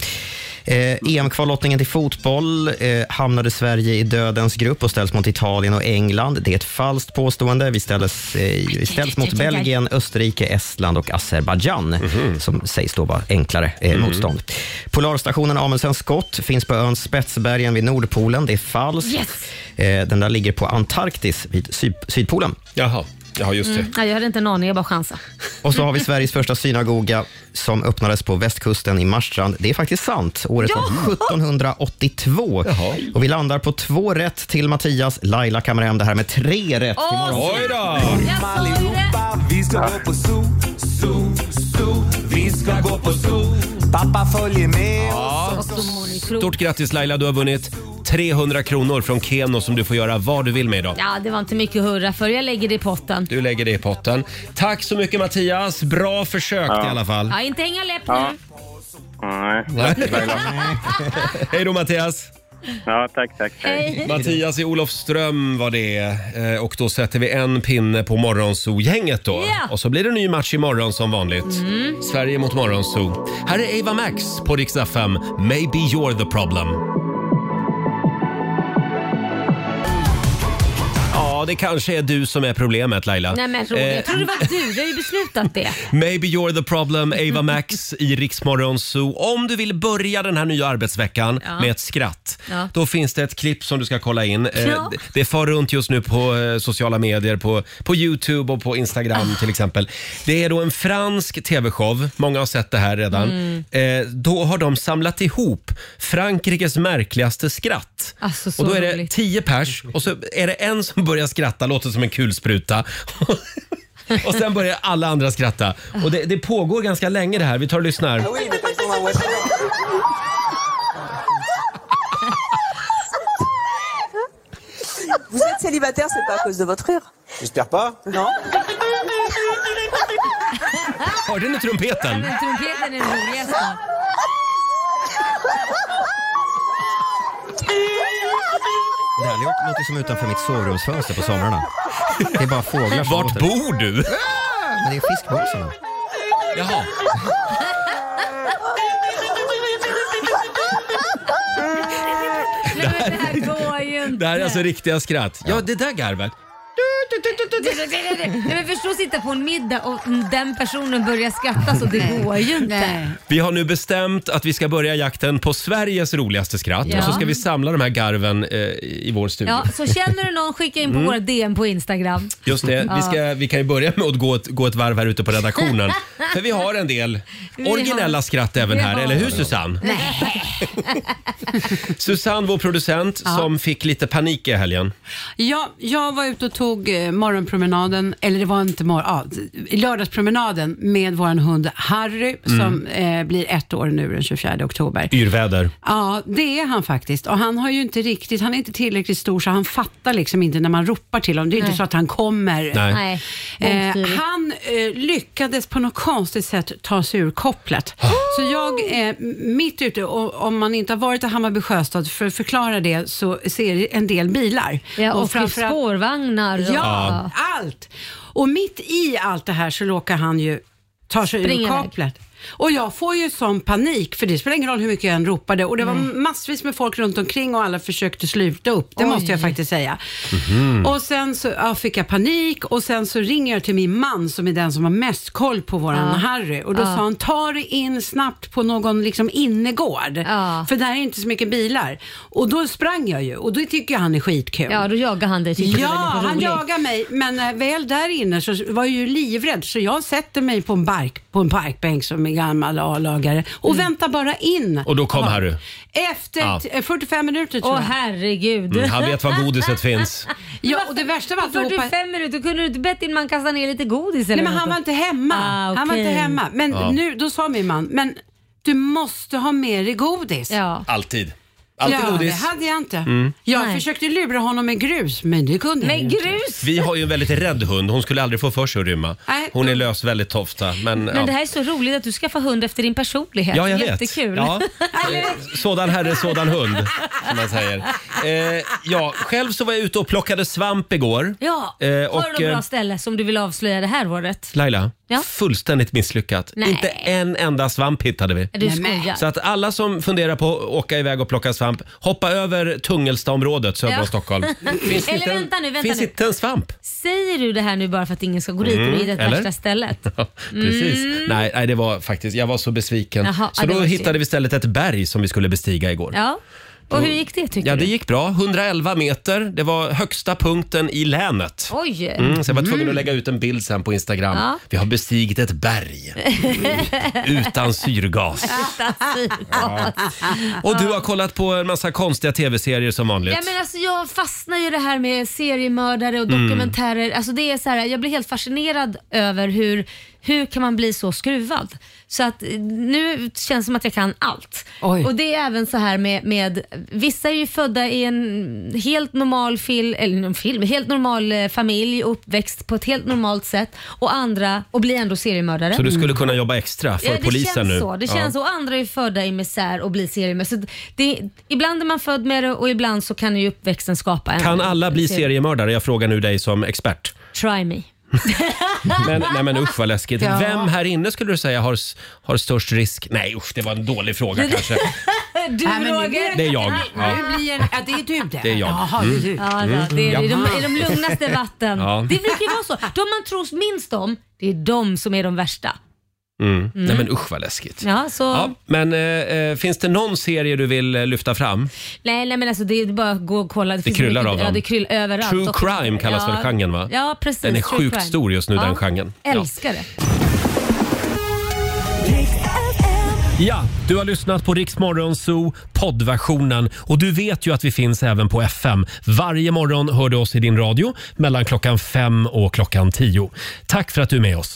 Eh, EM-kvallottningen till fotboll eh, hamnade Sverige i dödens grupp och ställs mot Italien och England. Det är ett falskt påstående. Vi ställs, eh, vi ställs mot Belgien, Österrike, Estland och Azerbajdzjan som sägs då vara enklare eh, Mhm. motstånd. Polarstationen Amundsens skott finns på ön Spetsbergen vid Nordpolen. Det är falskt. Yes. Eh, den där ligger på Antarktis vid syd- Sydpolen. Jaha, ja just Mm. Nej, jag hade inte en aning, jag bara chansade. och så har vi Sveriges första synagoga som öppnades på västkusten i Marstrand. Det är faktiskt sant. Året var 1782. Och vi landar på två rätt till Mattias. Laila kammar hem det här med tre rätt Åh, imorgon. Oj då! Vi ska gå på zoo, zoo, zoo. Vi ska gå på zoo. Pappa följer med Ja. oss. Stort grattis Laila, du har vunnit 300 kronor från Keno som du får göra vad du vill med idag. Ja, det var inte mycket att hurra för. Jag lägger det i potten. Du lägger det i potten. Tack så mycket Mattias, bra försök i alla fall. Ja, inte hänga läpp nu. Ja. Nej. Nej. [LAUGHS] Hej då Mattias! Ja, tack, tack. Hej. Mattias i Olofström var det Eh, och då sätter vi en pinne på Morgonzoo-gänget då. Ja. Och så blir det en ny match imorgon som vanligt. Mm. Sverige mot Morgonzoo. Här är Eva Max på Rix FM. Maybe you're the problem. Ja, det kanske är du som är problemet Laila. Nej men Roger, Eh, jag trodde det var du. Vi har ju beslutat det. Maybe you're the problem, Ava Max i Riksmorgon Zoo. Om du vill börja den här nya arbetsveckan Ja. med ett skratt, Ja. då finns det ett klipp som du ska kolla in. Eh, Ja. det- Det far runt just nu på eh, sociala medier, på, på Youtube och på Instagram till exempel. Det är då en fransk tv-show, många har sett det här redan. Mm. Eh, Då har de samlat ihop Frankrikes märkligaste skratt. Alltså så Och då är det roligt. tio pers och så är det en som börjar skratta, låter som en kulspruta. [LAUGHS] Och sen börjar alla andra skratta. Och det, det pågår ganska länge det här. Vi tar och lyssnar. Ah oui, mais pas besoin d'un voisin. Vous êtes célibataire, c'est pas à cause de votre rire. J'espère pas. Non. Hörde ni Men trumpeten? trumpeten är den roligaste. Det här låter som utanför mitt sovrumsfönster på somrarna. Det är bara fåglar som Vart låter. bor du? Men det är fiskmåsarna. Jaha. Nej men det här går ju inte. Det här är alltså riktiga skratt. Ja, det där garvet. Nej, men förstå att sitta på en middag och den personen börjar skratta så det går ju inte. Vi har nu bestämt att vi ska börja jakten på Sveriges roligaste skratt Ja. och så ska vi samla de här garven eh, i vår studio. Ja, så känner du någon, skicka in på Mm. våra DM på Instagram. Just det, vi, ska, vi kan ju börja med att gå ett, gå ett varv här ute på [LAUGHS] redaktionen. För vi har en del Vi har- originella skratt även vi här, har- eller hur Susanne? [LAUGHS] Susanne, vår producent, Ja. som fick lite panik i helgen. Ja, jag var ute och tog eh, eh, morgonpromenaden, eller det var inte morgon, ja, lördagspromenaden med vår hund Harry som eh, blir ett år nu den 24 oktober. Yrväder. Ja, det är han faktiskt. Och han har ju inte riktigt, han är inte tillräckligt stor så han fattar liksom inte när man ropar till honom. Det är ju inte Nej. så att han kommer. Nej. Nej. Eh, Bångstyrigt. han eh, lyckades på något konstigt sätt ta sig ur kopplet. Ah. Så jag, eh, mitt ute, och, om man inte har varit i Hammarby Sjöstad, för att förklara det, så ser jag en del bilar. Ja, och, framförallt- spårvagnar. Och, Ja, allt. Och mitt i allt det här så råkar han ju ta sig Springa ur iväg. kaplet. Och jag får ju sån panik, för det spelar ingen roll hur mycket jag än ropade. Och det var massvis med folk runt omkring och alla försökte sluta upp. Det måste jag faktiskt säga. Och sen så ja, fick jag panik och sen så ringer jag till min man som är den som har mest koll på våran Ja. Harry. Och då Ja. sa han, ta dig in snabbt på någon liksom innergård. För där är inte så mycket bilar. Och då sprang jag ju och det tycker jag han är skitkul. ja, då jagar han dig. tycker Ja, du är väldigt han roligt. jagar mig, men eh, väl där inne så var jag ju livrädd så jag sätter mig på en, bark, på en parkbänk som är gammal A-lagare och Mm. väntar bara in. Och då kom Ja. Harry. Efter Ja. t- eh, 45 minuter tror Åh jag. herregud. Mm, han vet var godiset finns. Ja, och det värsta var att då För hoppade- 45 minuter, kunde du inte bett din man kasta ner lite godis eller Nej, men något han då? var inte hemma. Ah, Han var inte okej. hemma. Men Ja. nu, då sa min man, men du måste ha med dig godis. Ja. Alltid. Alltid ja, godis. det hade jag inte. Mm. Jag Nej. försökte lura honom med grus, men det kunde jag Med ju inte. grus? Vi har ju en väldigt rädd hund. Hon skulle aldrig få för sig att rymma. Nej. Hon är lös väldigt ofta. Men, Men det här är så roligt att du skaffar hund efter din personlighet. Ja, jag vet. Jättekul. [LAUGHS] Ja. Sådan herre, sådan hund, som man säger. Eh, ja, själv så var jag ute och plockade svamp igår. Ja, Eh, har och, du något eh, bra ställe som du vill avslöja det här året? Laila, Ja. fullständigt misslyckat. Nej. Inte en enda svamp hittade vi. Du skojar. Så att alla som funderar på att åka iväg och plocka svamp, hoppa över Tungelstaområdet söder om [LAUGHS] Stockholm. Finns Eller inte en- vänta nu, vänta Finns nu. inte en svamp. Säger du det här nu bara för att ingen ska gå dit Mm, och det är det eller? värsta stället? Precis. Mm. Nej, nej, det var faktiskt, jag var så besviken. Jaha, så ja, det då var hittade synd. vi istället ett berg som vi skulle bestiga igår. Ja. Och hur gick det tycker Mm. Ja, det du? gick bra. 111 meter. Det var högsta punkten i länet. Oj! Mm, så jag var tvungen Mm. att lägga ut en bild sen på Instagram. Ja. Vi har bestigit ett [LAUGHS] berg utan syrgas. Utan syrgas. Och du har kollat på en massa konstiga tv-serier som vanligt. Ja, men alltså, jag fastnar ju i det här med seriemördare och Mm. dokumentärer. Alltså, det är så här, jag blir helt fascinerad över hur, hur kan man bli så skruvad. Så att eh, nu känns det som att jag kan allt. Oj. Och det är även så här med, med vissa är ju födda i en helt normal film, eller en film, helt normal eh, familj, uppväxt på ett helt normalt sätt och andra, och blir ändå seriemördare. Så du skulle kunna jobba extra för Ja, det polisen känns nu? Så. Det Ja. känns så. Och andra är födda i misär och blir seriemördare. Så det, ibland är man född med det och ibland så kan ju uppväxten skapa en. Kan alla bli serie- seriemördare? Jag frågar nu dig som expert. Try me. Men, nej men usch vad läskigt. Ja. Vem här inne skulle du säga har, s- har störst risk? Nej usch, det var en dålig [LAUGHS] fråga kanske. Mm. Du Nej, men nu- Roger. Det är jag. Ja. Nu blir en, ja, det är du det. Det är jag. Jaha, det är du. Mm. Ja, ja, det är i de, i de lugnaste vatten. Ja. Det brukar ju vara så. De man tror minst om, det är de som är de värsta. Mm. Nej Mm. men usch vad läskigt. Ja, så, Ja, men eh, eh, finns det någon serie du vill eh, lyfta fram? Nej, nej, men alltså, det är bara att gå och kolla. Det finns kryllar mycket- av Ja, dem. det kryllar överallt. True Och- crime kallas väl genren, va? Ja, precis. Den är true sjukt crime. stor just nu, den genren. Ja. Älskar det. Ja, du har lyssnat på Rix Morgon Zoo poddversionen och du vet ju att vi finns även på FM. Varje morgon hör du oss i din radio mellan klockan fem och klockan tio. Tack för att du är med oss.